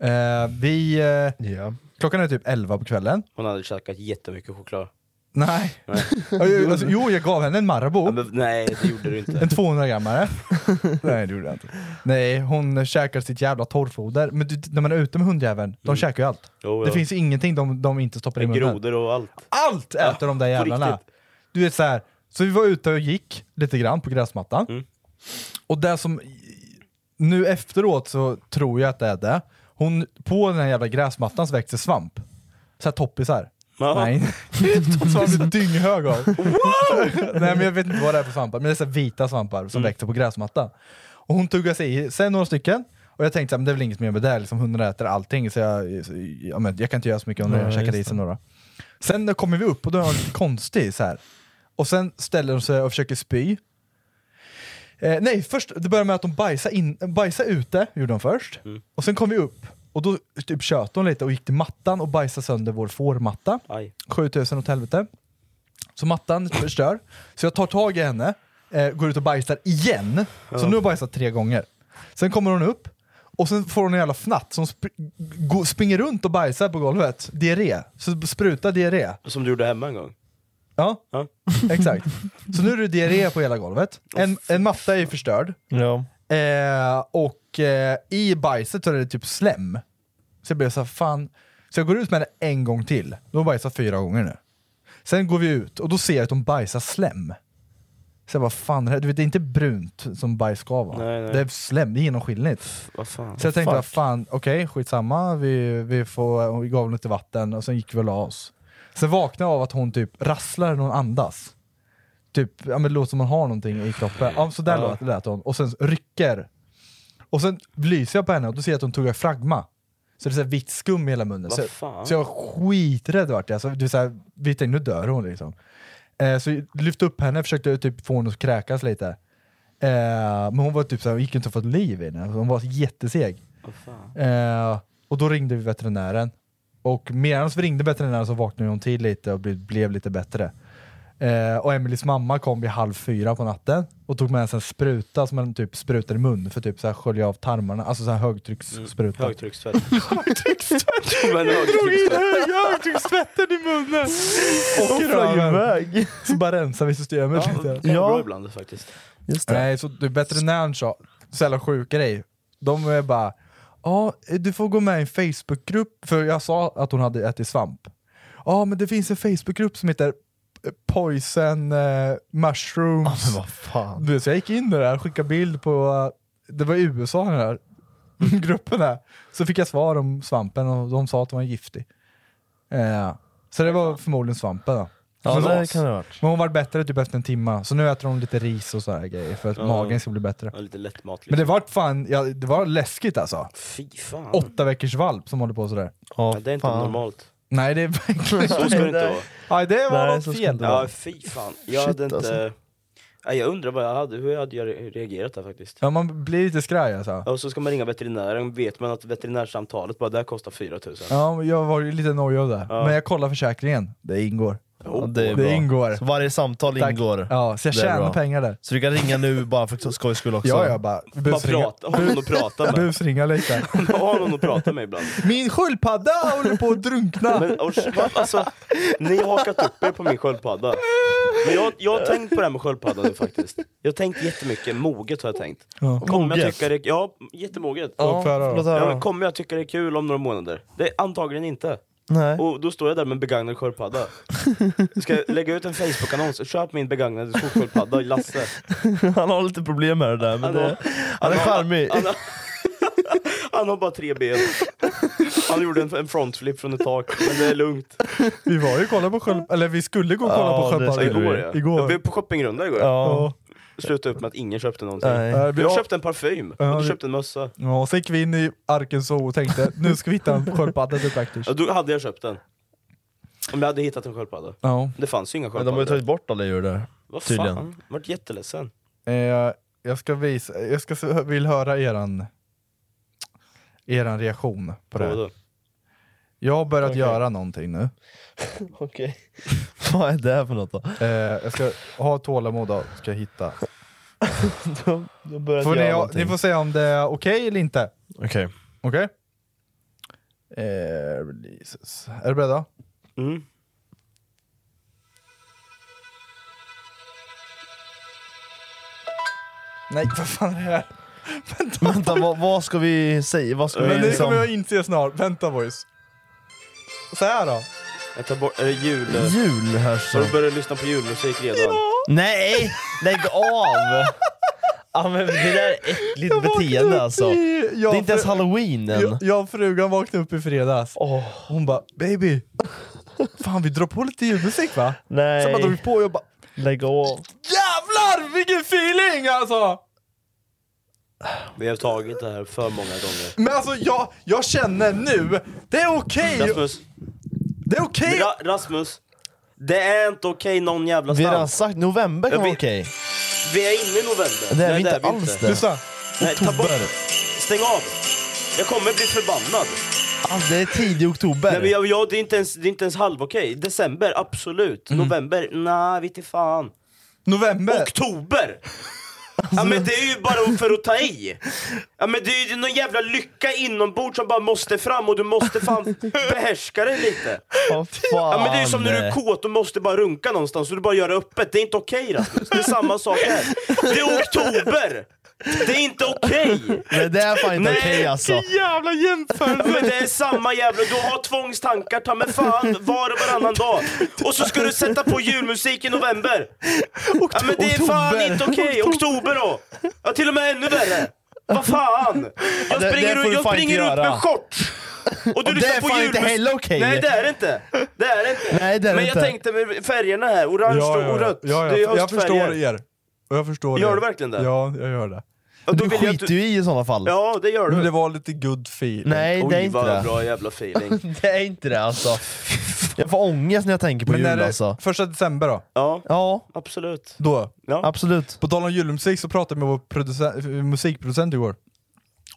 Speaker 3: Eh, vi, eh,
Speaker 4: Ja.
Speaker 3: klockan är typ elva på kvällen.
Speaker 5: Hon hade käkat jättemycket choklad.
Speaker 3: Nej. Jo, alltså, *laughs* jo, jag gav henne en Marabou.
Speaker 5: Ja, men, nej, det
Speaker 3: *laughs*
Speaker 5: gjorde du inte.
Speaker 3: En 200
Speaker 5: *laughs*
Speaker 3: grammare. Nej det gjorde jag inte. Nej hon käkar sitt jävla torrfoder. Men du, när man är ute med hundjäveln, de käkar ju allt.
Speaker 5: Mm. Jo,
Speaker 3: Det
Speaker 5: ja.
Speaker 3: finns ju ingenting de, de inte stoppar i munnen.
Speaker 5: Grodor och allt.
Speaker 3: Allt äter de där
Speaker 5: på
Speaker 3: jävlarna.
Speaker 5: riktigt.
Speaker 3: Du vet så här. så vi var ute och gick lite grann på gräsmattan.
Speaker 5: Mm.
Speaker 3: Och det som, nu efteråt så tror jag att det är det. Hon, på den här jävla gräsmattan så växer svamp. Så här toppisar.
Speaker 5: Ja.
Speaker 3: Nej, som man blir *laughs* dynghög av. *laughs* Nej men jag vet inte vad det är för svampar, men det är så här vita svampar
Speaker 5: Mm.
Speaker 3: som växer på gräsmattan. Och hon tuggade sig i sig några stycken, och jag tänkte så här, men det är väl inget mer med det, liksom, hundarna äter allting så jag, så, ja, men, jag kan inte göra så mycket om jag käkade i sig några. Sen då kommer vi upp och då är hon lite konstig så här. Och sen ställer hon sig och försöker spy. Eh, nej, först, det började med att hon bajsade, in, bajsade ute, gjorde hon först. Och sen kom vi upp, och då typ tjöt hon lite och gick till mattan och bajsade sönder vår fårmatta.
Speaker 5: Aj.
Speaker 3: 7000 åt helvete. Så mattan förstör. Så jag tar tag i henne, eh, går ut och bajsar igen. Så
Speaker 4: Ja.
Speaker 3: nu har hon bajsat tre gånger. Sen kommer hon upp och sen får hon en jävla fnatt som sp go- springer runt och bajsar på golvet. Diarré. Så sprutar diarré.
Speaker 5: Som du gjorde hemma en gång.
Speaker 3: Ja, exakt. Så nu är det diarré på hela golvet. En, en matta är ju förstörd.
Speaker 4: Ja.
Speaker 3: Eh, och eh, i bajset så är det typ slem. Så jag blev så här, fan. Så jag går ut med henne en gång till. De har bajsat fyra gånger nu. Sen går vi ut och då ser jag att de bajsar slem. Så jag bara, fan, det här- du vet det är inte brunt som bajs ska vara.
Speaker 5: Nej, nej.
Speaker 3: Det är slem, det är genomskinligt.
Speaker 5: Vad fan?
Speaker 3: Så jag tänkte,
Speaker 5: Fuck.
Speaker 3: fan okej, skitsamma, vi, vi, får, vi gav henne lite vatten och sen gick vi och la oss. Sen vaknade jag av att hon typ rasslar när hon andas. Typ, ja men det låter som hon har någonting i kroppen. Ja, så där
Speaker 4: Ja.
Speaker 3: lät, lät hon. Och sen rycker. Och sen lyser jag på henne och då ser jag att hon tuggar fragma. Så det är så här vitt skum i hela munnen.
Speaker 4: Vad
Speaker 3: Så,
Speaker 4: fan?
Speaker 3: så jag var skiträdd vart jag. Alltså, det är så här, vi tänkte, nu dör hon liksom. Eh, så jag lyfte upp henne, försökte typ få henne att kräkas lite. Eh, men hon var typ så här, gick inte att få ett liv i henne. Alltså, Hon var jätteseg. Eh, och då ringde vi veterinären. Och medan vi ringde veterinären så vaknade hon till lite och blev, blev lite bättre. Eh, och Emelies mamma kom vid halv fyra på natten och tog med sig en spruta som man typ sprutar i mun för typ så här skölja av tarmarna, alltså så här högtrycksspruta. *laughs*
Speaker 5: Högtryckstvätt. *laughs* Högtryckstvätt?
Speaker 3: drog in högtryckstvätten i munnen!
Speaker 4: Och flög iväg.
Speaker 3: Så bara rensar vi systemet
Speaker 5: Ja,
Speaker 3: lite.
Speaker 5: det är bra ibland faktiskt.
Speaker 4: Just det.
Speaker 3: Nej, så du, veterinären sa, så jävla sjuk grej. De är bara, ja du får gå med i en Facebookgrupp, för jag sa att hon hade ätit svamp. Ja men det finns en Facebookgrupp som heter eh, Poison eh, Mushrooms.
Speaker 4: men vad fan.
Speaker 3: Du vet, så jag gick in där och skickade bild på, eh, det var i USA den här *laughs* gruppen här. Så fick jag svar om svampen och de sa att den var giftig. Eh, så det var förmodligen svampen då.
Speaker 4: Ja,
Speaker 3: Men-
Speaker 4: det kan det ha varit.
Speaker 3: Men hon var bättre typ efter en timme, så nu äter hon lite ris och sådana grejer för att
Speaker 5: Ja.
Speaker 3: magen ska bli bättre.
Speaker 5: Ja, lite lätt mat.
Speaker 3: Men det var fan, ja, det var läskigt alltså.
Speaker 5: Fy fan.
Speaker 3: Åtta veckors valp som håller på sådär.
Speaker 5: ja, det är inte normalt.
Speaker 3: Nej det är *laughs* verkligen
Speaker 5: Så ska det inte vara.
Speaker 3: Nej det var
Speaker 5: Nej,
Speaker 3: något
Speaker 5: så ska
Speaker 3: fel.
Speaker 5: det inte vara. Ja, fy fan. Jag
Speaker 3: Shit,
Speaker 5: hade inte...
Speaker 3: alltså.
Speaker 5: Nej, jag undrar vad jag hade, hur hade jag re- reagerat där faktiskt.
Speaker 3: Ja man blir lite skraj alltså.
Speaker 5: Ja, Och så ska man ringa veterinären, vet man att veterinärsamtalet bara, det här kostar 4000.
Speaker 3: Ja, men jag var ju lite nojig av det.
Speaker 5: Ja.
Speaker 3: Men jag kollar försäkringen, det ingår.
Speaker 4: Ja, det är bra.
Speaker 3: Oh, ingår.
Speaker 4: Så varje samtal
Speaker 3: Tack.
Speaker 4: ingår.
Speaker 3: Ja, så jag
Speaker 4: Det är
Speaker 3: tjänar
Speaker 4: bra.
Speaker 3: pengar där.
Speaker 4: Så du kan ringa nu bara för skojs skull också?
Speaker 3: Ja, ja, bara- Bara busringa. prata- ha någon att prata med.
Speaker 5: *laughs*
Speaker 3: Busringa lite.
Speaker 5: Har någon att prata med ibland?
Speaker 3: Min sköldpadda håller på att drunkna!
Speaker 5: Men, och, alltså, ni har hakat upp er på min sköldpadda. Men jag, jag har tänkt på det här med sköldpadda nu faktiskt. Jag har tänkt jättemycket, moget har jag tänkt.
Speaker 3: Ja.
Speaker 5: Och Kommer jag
Speaker 3: Moget?
Speaker 5: tycka det, ja, jättemoget.
Speaker 3: Ja, Låt höra då. låt höra.
Speaker 5: Ja, men kommer jag tycka det är kul om några månader? Det är antagligen inte.
Speaker 4: Nej.
Speaker 5: Och då står jag där med en begagnad sköldpadda. Ska jag lägga ut en Facebook-annons, köp min begagnade skogsköldpadda, Lasse.
Speaker 4: *laughs* Han har lite problem med det där, men
Speaker 5: Han
Speaker 4: det,
Speaker 5: har-
Speaker 4: han är charmig.
Speaker 5: Han, har- *laughs* han har bara tre ben. Han gjorde en, en frontflip från ett tak, men det är lugnt.
Speaker 3: Vi var ju och kollade på sköld... Eller vi skulle gå och kolla på sköldpadda
Speaker 5: igår. Ja. Jag var
Speaker 3: igår.
Speaker 5: på shoppingrunda igår.
Speaker 3: Ja.
Speaker 5: Slutade upp med att ingen köpte någonting.
Speaker 3: Nej.
Speaker 5: Jag köpte en parfym,
Speaker 3: Ja,
Speaker 5: och du
Speaker 3: vi-
Speaker 5: köpte en mössa.
Speaker 3: Äh, Ja, sen gick vi in i Arkens zoo och tänkte nu ska vi hitta en sköldpadda till praktiskt.
Speaker 5: Ja, då hade jag köpt den. Om jag hade hittat en sköldpadda.
Speaker 3: Ja.
Speaker 5: Det fanns ju inga
Speaker 4: Men
Speaker 5: sköldpaddor.
Speaker 4: de har ju tagit bort alla djur där.
Speaker 5: Vad
Speaker 4: Tydligen.
Speaker 5: fan, jag vart jätteledsen.
Speaker 3: Eh, jag ska visa, jag ska, se- vill höra eran, eran reaktion på det
Speaker 5: På
Speaker 3: här.
Speaker 5: vadå?
Speaker 3: Jag har börjat
Speaker 4: Okej.
Speaker 3: göra någonting nu.
Speaker 4: Okej. *laughs* Vad är det här för något då?
Speaker 3: Eh, jag ska ha tålamod och ska jag hitta.
Speaker 4: De, de börjar
Speaker 3: Får
Speaker 4: göra
Speaker 3: ni,
Speaker 4: någonting.
Speaker 3: ni får säga om det är okej eller inte.
Speaker 4: Okej.
Speaker 3: Okej? Eh, releases. Är du beredda?
Speaker 5: Mm.
Speaker 3: Nej, vad fan är det här?
Speaker 4: Vänta, vad, vad ska vi säga? Vad ska vi
Speaker 3: Men det
Speaker 4: liksom...
Speaker 3: kommer jag inse snart. Vänta boys. Så här då.
Speaker 5: Jag tar bort, är det jul?
Speaker 4: Jul hörs
Speaker 5: Har du börjat lyssna på julmusik redan?
Speaker 4: Nej! Lägg av! *laughs* Ja, men det där är äckligt beteende alltså.
Speaker 3: i- ja,
Speaker 4: det är inte ens
Speaker 3: för-
Speaker 4: halloween än.
Speaker 3: Jag, jag och frugan vaknade upp i fredags. Hon bara “baby, fan vi drar på lite julmusik va?”
Speaker 4: Nej.
Speaker 3: Sen bara drog vi på och jag bara
Speaker 4: Lägg av.
Speaker 3: “jävlar vilken feeling alltså!”
Speaker 5: Vi har tagit det här för många gånger.
Speaker 3: Men alltså jag, jag känner nu, det är okej!
Speaker 5: Rasmus.
Speaker 3: Det är okej!
Speaker 5: Ra Rasmus. Det är inte okej någon jävla
Speaker 4: Vi har
Speaker 5: stans.
Speaker 4: redan sagt november kan
Speaker 5: Jag
Speaker 4: vara
Speaker 5: vet-
Speaker 4: okej.
Speaker 5: Vi är inne i november.
Speaker 4: Det är vi
Speaker 5: Nej,
Speaker 4: inte alls det. Lyssna.
Speaker 5: Nej, ta bort. Stäng av. Jag kommer bli förbannad.
Speaker 4: Alltså, det är tidig oktober.
Speaker 5: Nej, men jag, jag,
Speaker 4: Mm.
Speaker 5: det, är inte ens, det är inte ens halv okej. December, absolut. November, nej, vet inte fan.
Speaker 3: November?
Speaker 5: Oktober! Ja men det är ju bara för att ta i! Ja men det är ju någon jävla lycka inombords som bara måste fram och du måste fan behärska dig lite! Ja men det är ju som när du är kåt och måste bara runka någonstans och du bara gör det öppet, det är inte okej Rasmus. Det är samma sak här. Det är oktober! Det är inte okej!
Speaker 4: Nej det är fan inte
Speaker 5: Nej,
Speaker 4: okej alltså.
Speaker 3: jävla jämförelse!
Speaker 5: Men det är samma jävla, du har tvångstankar ta mig fan var och varannan dag. Och så ska du sätta på julmusik i november. ja, men det är fan
Speaker 4: oktober.
Speaker 5: inte okej. Oktober då. Ja, till och med ännu värre. Vad fan.
Speaker 4: Ja,
Speaker 5: Jag
Speaker 4: det- det
Speaker 5: springer,
Speaker 4: får
Speaker 5: ut-
Speaker 4: du
Speaker 5: jag
Speaker 4: fan
Speaker 5: springer
Speaker 4: inte
Speaker 5: ut
Speaker 4: göra.
Speaker 5: med shorts. Och
Speaker 4: Och det är
Speaker 5: lyssnar
Speaker 4: fan inte
Speaker 5: julmus-
Speaker 4: heller okej.
Speaker 5: Nej det är det inte. Det är det inte.
Speaker 4: Nej, det är
Speaker 5: men
Speaker 4: det
Speaker 5: jag
Speaker 4: inte.
Speaker 5: tänkte med färgerna här, orange och rött.
Speaker 3: Ja,
Speaker 5: det är
Speaker 3: jag, jag
Speaker 5: höstfärger.
Speaker 3: förstår er. Och jag förstår
Speaker 5: Gör
Speaker 3: er.
Speaker 5: du verkligen det?
Speaker 3: Ja, jag gör det.
Speaker 5: Ja, då
Speaker 4: Du
Speaker 5: vill jag att
Speaker 4: skiter ju i i sådana fall.
Speaker 5: Ja det gör du.
Speaker 3: Men det var lite good feeling.
Speaker 4: Nej det är
Speaker 5: Oj
Speaker 4: inte
Speaker 5: vad
Speaker 4: det.
Speaker 5: bra jävla feeling.
Speaker 4: *laughs* Det är inte det alltså. Jag får ångest när jag tänker på
Speaker 3: Men är
Speaker 4: jul
Speaker 3: det
Speaker 4: alltså.
Speaker 3: första december då?
Speaker 5: Ja,
Speaker 4: Ja,
Speaker 5: absolut.
Speaker 3: Då?
Speaker 5: Ja.
Speaker 4: Absolut.
Speaker 3: På tal om julmusik så pratade jag med vår producent, eh, musikproducent igår.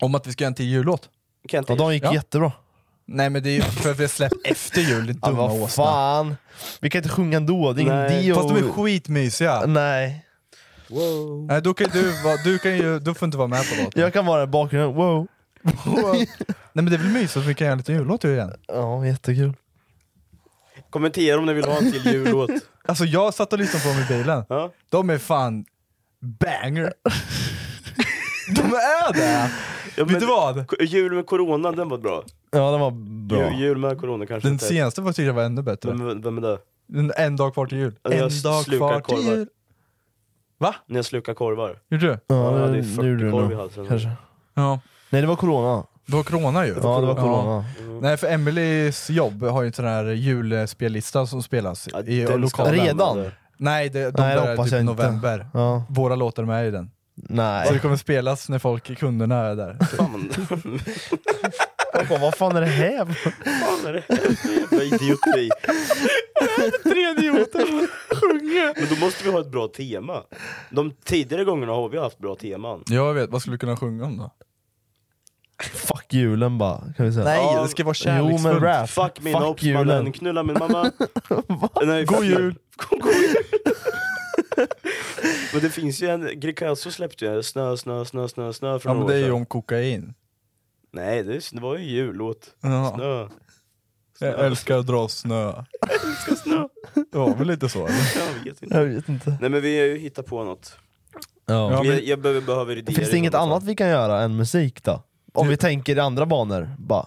Speaker 3: Om att vi ska göra en till jullåt.
Speaker 5: Kent.
Speaker 4: Och de gick
Speaker 3: Ja.
Speaker 4: jättebra.
Speaker 3: Nej men det är ju för att vi har släppt
Speaker 4: *laughs*
Speaker 3: efter jul, din
Speaker 4: Ja,
Speaker 3: dumma
Speaker 4: vad
Speaker 3: åsna.
Speaker 4: fan. Vi kan inte sjunga ändå, det är ingen
Speaker 3: Nej.
Speaker 4: Dio.
Speaker 3: Fast de är skitmysiga.
Speaker 4: Mm. Nej.
Speaker 3: Nej då kan ju du, vara- du kan ju, du får inte vara med på låten.
Speaker 4: Jag kan vara i bakgrunden, wow.
Speaker 3: Nej men det är väl mysigt att vi kan göra en liten jullåt ju igen.
Speaker 4: Ja, jättekul.
Speaker 5: Kommentera om ni vill ha en till *laughs* jullåt.
Speaker 3: Alltså jag satt och lyssnade på dem i bilen.
Speaker 5: Ja.
Speaker 3: De är fan banger. De är det!
Speaker 5: Ja,
Speaker 3: Vet du vad?
Speaker 5: K- Jul med corona, den var bra.
Speaker 4: Ja, den var
Speaker 5: Ju-
Speaker 4: bra.
Speaker 5: Jul, med corona kanske
Speaker 3: Den
Speaker 5: inte.
Speaker 3: senaste var tyckte jag var ännu
Speaker 4: Mm.
Speaker 3: bättre.
Speaker 5: Vem, vem är det?
Speaker 3: En, en dag kvar till jul.
Speaker 5: Ja, jag
Speaker 3: en dag
Speaker 5: slukar
Speaker 3: kvar till
Speaker 5: korvar.
Speaker 3: jul. Va?
Speaker 5: När jag slukar korvar.
Speaker 3: Gjorde du?
Speaker 4: Ja,
Speaker 5: Ja, det är
Speaker 4: nu- nu gjorde du
Speaker 5: 40 korv
Speaker 4: nog.
Speaker 5: i halsen.
Speaker 4: Kanske.
Speaker 3: Ja.
Speaker 4: Nej, det var corona.
Speaker 3: Det var corona ju.
Speaker 4: Ja, det var corona.
Speaker 3: Nej för Emelies jobb har ju en sån här julspellista som spelas i
Speaker 5: den ska
Speaker 3: lokalen.
Speaker 5: vara med
Speaker 4: Redan?
Speaker 5: där.
Speaker 3: Nej, det, de
Speaker 4: Nej, det
Speaker 3: börjar
Speaker 4: hoppas
Speaker 3: typ
Speaker 4: jag inte.
Speaker 3: november.
Speaker 4: Ja.
Speaker 3: Våra låtar är med i den. Så det
Speaker 4: Nej.
Speaker 3: kommer spelas när folk, kunderna är
Speaker 4: *laughs*
Speaker 3: där.
Speaker 5: Fan. *laughs*
Speaker 4: Jag bara, vad fan är det här?
Speaker 5: Fan är det här för jävla idioti?
Speaker 3: Tre idioter!
Speaker 5: Men då måste vi ha ett bra tema. De tidigare gångerna har vi haft bra teman.
Speaker 3: Jag vet, vad skulle du kunna sjunga om då?
Speaker 4: *laughs* Fuck julen bara, kan vi säga.
Speaker 3: Nej,
Speaker 5: Ja,
Speaker 3: det ska vara
Speaker 4: Jo
Speaker 3: kärleksfullt.
Speaker 4: men rap.
Speaker 5: Fuck min
Speaker 4: Fuck
Speaker 5: hopp, mannen.
Speaker 4: julen.
Speaker 5: Knulla min
Speaker 4: *laughs*
Speaker 5: mamma. Nej,
Speaker 4: God
Speaker 5: fuck min-
Speaker 4: jul.
Speaker 5: *laughs* God god jul. Men det finns ju en, Greekazo släppte ju en snö, snö, snö, snö, snö för
Speaker 3: Ja
Speaker 5: några
Speaker 3: men
Speaker 5: år
Speaker 3: det är ju
Speaker 5: sedan.
Speaker 3: om kokain.
Speaker 5: Nej, det, är- det var ju en jullåt.
Speaker 3: Ja.
Speaker 5: Snö.
Speaker 3: Jag älskar att dra
Speaker 5: *laughs*
Speaker 3: snö.
Speaker 5: snö.
Speaker 3: Det var väl lite så? eller?
Speaker 5: Jag vet inte.
Speaker 4: *laughs* Jag vet inte.
Speaker 5: Nej men vi har ju hittat på något.
Speaker 3: Ja,
Speaker 5: Jag,
Speaker 3: men,
Speaker 5: jag behöver, behöver idéer.
Speaker 4: Finns det alltså. inget
Speaker 5: i sådana
Speaker 4: annat vi kan göra än musik då? Om vi tänker i andra banor, bara.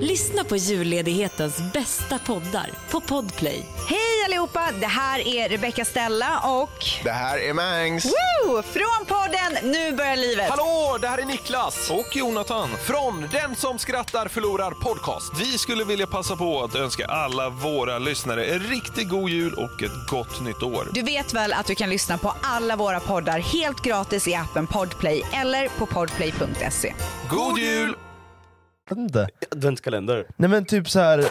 Speaker 12: Lyssna på julledighetens bästa poddar på Podplay.
Speaker 13: Hej allihopa! Det här är Rebecca Stella och...
Speaker 14: Det här är Mangs.
Speaker 13: Woo! Från podden Nu börjar livet!
Speaker 14: Hallå, det här är Niklas. Och Jonathan. Från Den som skrattar förlorar podcast. Vi skulle vilja passa på att önska alla våra lyssnare en riktigt god jul och ett gott nytt år.
Speaker 13: Du vet väl att du kan lyssna på alla våra poddar helt gratis i appen Podplay eller på podplay.se.
Speaker 14: God jul!
Speaker 4: Jag vet inte.
Speaker 5: Adventskalender.
Speaker 4: Nej men typ så *laughs* här.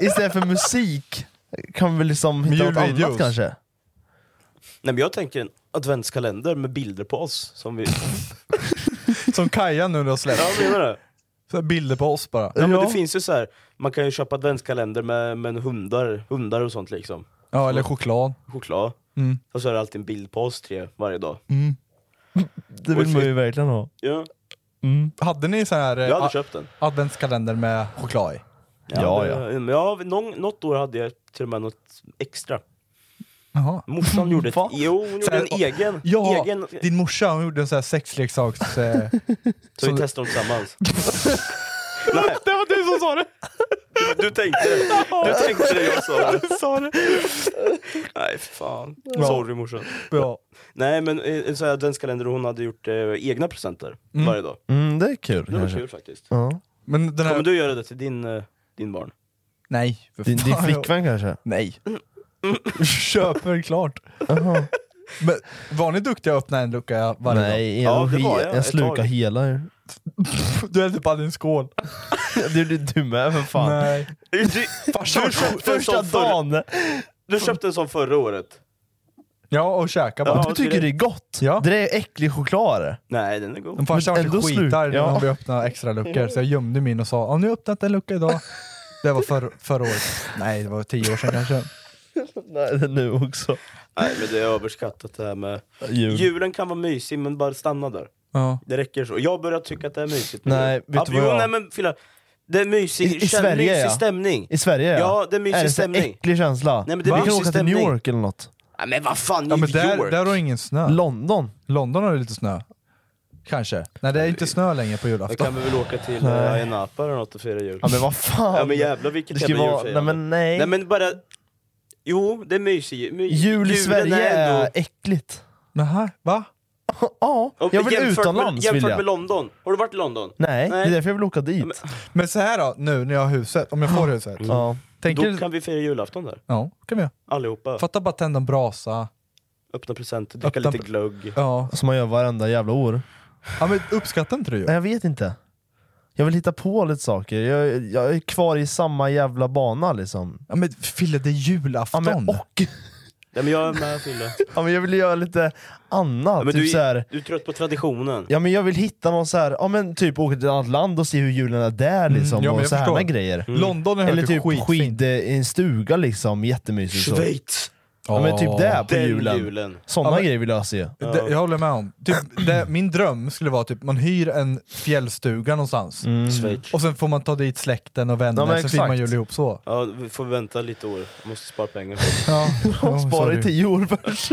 Speaker 4: istället för musik kan vi liksom hitta något
Speaker 3: Julvideos.
Speaker 4: annat kanske?
Speaker 5: Nej men jag tänker en adventskalender med bilder på oss. Som vi...
Speaker 4: *laughs*
Speaker 3: Som Kaja nu har släppt.
Speaker 5: Ja, jag menar det.
Speaker 3: Så här bilder på oss bara.
Speaker 5: Ja, men
Speaker 4: Ja.
Speaker 5: det finns ju så här. man kan ju köpa adventskalender med, med hundar, hundar och sånt liksom.
Speaker 3: Ja eller choklad.
Speaker 5: Choklad.
Speaker 3: Mm.
Speaker 5: Och så är det alltid en bild på oss tre varje dag.
Speaker 4: Det vill man ju verkligen ha.
Speaker 5: Ja.
Speaker 3: Hade ni så här eh,
Speaker 5: Jag hade
Speaker 3: a-
Speaker 5: köpt den.
Speaker 3: adventskalender med choklad i?
Speaker 4: Ja, ja.
Speaker 5: det- Men ja, någon, något år hade jag till och med något extra.
Speaker 3: Jaha.
Speaker 5: Morsan gjorde
Speaker 3: *laughs*
Speaker 5: ett,
Speaker 4: Va?
Speaker 5: jo, hon
Speaker 3: Så
Speaker 5: gjorde
Speaker 3: här,
Speaker 5: en
Speaker 3: och-
Speaker 5: egen.
Speaker 3: Ja,
Speaker 5: egen
Speaker 3: din morsa hon gjorde en sån här sexleksaks...
Speaker 5: *laughs*
Speaker 3: Eh,
Speaker 5: så vi testade dem tillsammans.
Speaker 3: *laughs* det var du som sa det!
Speaker 5: Du tänkte det. Du tänkte det jag sa. det.
Speaker 3: *laughs*
Speaker 5: Nej för fan. Sorry morsan.
Speaker 3: Ja.
Speaker 5: Nej men eh, så här adventskalender och hon hade gjort eh, egna presenter varje dag.
Speaker 4: Mm, det är kul
Speaker 5: Det var
Speaker 4: kanske.
Speaker 5: kul faktiskt.
Speaker 4: Ja.
Speaker 3: Men den här...
Speaker 5: Kommer du göra det till din, eh, din barn?
Speaker 3: Nej, för
Speaker 4: Din, din
Speaker 3: fan.
Speaker 4: flickvän kanske?
Speaker 3: Nej.
Speaker 5: Mm.
Speaker 3: *laughs* Köper klart. Men var ni duktiga att öppna en lucka varje dag?
Speaker 4: Nej,
Speaker 5: Ja,
Speaker 4: jag,
Speaker 5: det var
Speaker 4: ja,
Speaker 5: jag
Speaker 4: jag,
Speaker 5: ett
Speaker 4: slukar
Speaker 5: tag.
Speaker 4: hela. ju.
Speaker 3: Du hällde upp all din skål.
Speaker 4: Det gjorde *laughs* du med för fan.
Speaker 3: Nej.
Speaker 5: Du,
Speaker 4: Farsan,
Speaker 5: du köpte en
Speaker 4: första
Speaker 5: sån förra,
Speaker 4: dagen.
Speaker 5: du köpte en sån förra året.
Speaker 3: Ja, och käka bara.
Speaker 4: Ja, du tycker det är gott? Det är äcklig choklad.
Speaker 5: Nej, den är god.
Speaker 3: Men farsan vart
Speaker 4: Ändå
Speaker 3: skitarg
Speaker 4: slut. Ja.
Speaker 3: när han började öppna extra luckor så jag gömde min och sa "Ja, nu har jag öppnat en lucka idag. Det var för, förra året. Nej, det var tio år sedan kanske.
Speaker 4: Nej, det är nu också.
Speaker 5: Nej men det är överskattat det här med...
Speaker 4: Jul.
Speaker 5: Julen kan vara mysig men bara stanna där.
Speaker 3: Ja.
Speaker 5: Det räcker så. Jag börjar tycka att det är mysigt. nu.
Speaker 4: Nej, vet du
Speaker 5: jo,
Speaker 4: vad jag-
Speaker 5: nej, men Filla, det är mysig,
Speaker 4: I, i
Speaker 5: känn-
Speaker 4: Sverige
Speaker 5: mysig
Speaker 4: ja.
Speaker 5: stämning.
Speaker 4: I Sverige ja.
Speaker 5: Ja, det är mysig
Speaker 4: är det så
Speaker 5: stämning.
Speaker 4: äcklig känsla?
Speaker 5: Nej, men det är
Speaker 4: Vi kan
Speaker 5: mysig
Speaker 4: åka till New
Speaker 5: stämning.
Speaker 4: York eller något.
Speaker 5: Nej, men vad fan,
Speaker 3: Ja,
Speaker 5: New
Speaker 3: men där,
Speaker 5: York?
Speaker 3: där har du ingen snö.
Speaker 4: London.
Speaker 3: London har ju lite snö. Kanske. Nej, det är inte snö längre på
Speaker 5: Då
Speaker 3: julafton.
Speaker 5: kan vi väl åka till
Speaker 3: Nej.
Speaker 5: Ayia Napa eller något och fira jul.
Speaker 4: Ja men vad fan.
Speaker 5: Ja men jävlar vilket
Speaker 4: Det ska
Speaker 5: jävla
Speaker 4: vara-
Speaker 5: julfirande.
Speaker 4: nej, men nej.
Speaker 5: Nej men bara... Jo, det är mysig my,
Speaker 4: Jul i
Speaker 5: julen
Speaker 4: Sverige är
Speaker 5: ändå-
Speaker 4: äckligt.
Speaker 3: Nähä, va?
Speaker 4: Ja,
Speaker 5: Och
Speaker 4: jag vill
Speaker 5: jämfört med,
Speaker 4: utomlands vill
Speaker 5: Jämfört
Speaker 4: jag.
Speaker 5: med London. Har du varit i London?
Speaker 4: Nej, det är därför jag vill åka dit.
Speaker 3: Men så här då, nu när jag har huset, om jag får huset.
Speaker 4: Ja.
Speaker 3: Tänker,
Speaker 5: Då kan vi fira julafton där.
Speaker 3: Ja, kan vi göra.
Speaker 5: Allihopa.
Speaker 3: Fatta bara tända en brasa.
Speaker 5: Öppna presenter, dricka
Speaker 3: Öppna-
Speaker 5: lite glögg.
Speaker 3: Ja.
Speaker 4: Som man gör varenda jävla år.
Speaker 3: Ja men uppskattar inte du
Speaker 4: Nej, jag vet inte. Jag vill hitta på lite saker. Jag, jag är kvar i samma jävla bana liksom.
Speaker 3: Ja men Fille, det är julafton.
Speaker 4: Ja, men, och,
Speaker 5: Nej men jag är med Fille.
Speaker 4: ja, men jag vill göra lite annat.
Speaker 5: Ja, men
Speaker 4: typ
Speaker 5: du,
Speaker 4: så här,
Speaker 5: du är trött på traditionen.
Speaker 4: ja, men jag vill hitta någon så här, ja, men typ åka till ett annat land och se hur julen är där liksom.
Speaker 3: Mm. ja, men
Speaker 4: och
Speaker 3: jag
Speaker 4: så här
Speaker 3: förstår.
Speaker 4: med grejer.
Speaker 3: Mm. London har jag
Speaker 4: Eller
Speaker 3: hört
Speaker 4: typ
Speaker 3: är skitfint.
Speaker 4: skid i en stuga liksom, jättemysigt. så.
Speaker 5: Schweiz!
Speaker 4: Ja men typ det på
Speaker 5: Den
Speaker 4: julen. Mm.
Speaker 5: julen.
Speaker 4: Såna
Speaker 3: Ja, men-
Speaker 4: grejer vill jag se.
Speaker 3: Det, jag håller med om. Typ, det, min dröm skulle vara typ man hyr en fjällstuga någonstans.
Speaker 5: Schweiz.
Speaker 3: Och sen får man ta dit släkten och vänner,
Speaker 5: Ja, men
Speaker 3: så firar man
Speaker 5: exakt.
Speaker 3: jul ihop så.
Speaker 5: Ja, vi får vänta lite år. Jag måste spara pengar. för det. *laughs*
Speaker 3: Ja.
Speaker 4: Ja, Spara
Speaker 3: sorry.
Speaker 4: i tio år
Speaker 3: *laughs*
Speaker 4: först.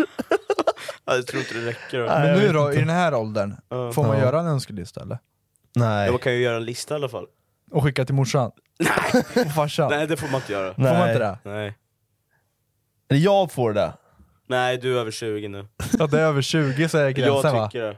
Speaker 5: Ja, jag tror inte det räcker.
Speaker 3: Men nu då, i den här åldern,
Speaker 5: Ja.
Speaker 3: får man
Speaker 5: Ja.
Speaker 3: göra en önskelista eller?
Speaker 4: Nej.
Speaker 5: Jag kan ju göra en lista i alla fall.
Speaker 3: Och skicka till morsan? Nej! *laughs* Och farsan?
Speaker 5: Nej, det får man inte göra.
Speaker 3: Får man inte det?
Speaker 5: Nej.
Speaker 4: Eller jag får det.
Speaker 5: Nej, du är över 20 nu.
Speaker 3: Ja, det är över 20 så är gränsen va?
Speaker 5: jag tycker det.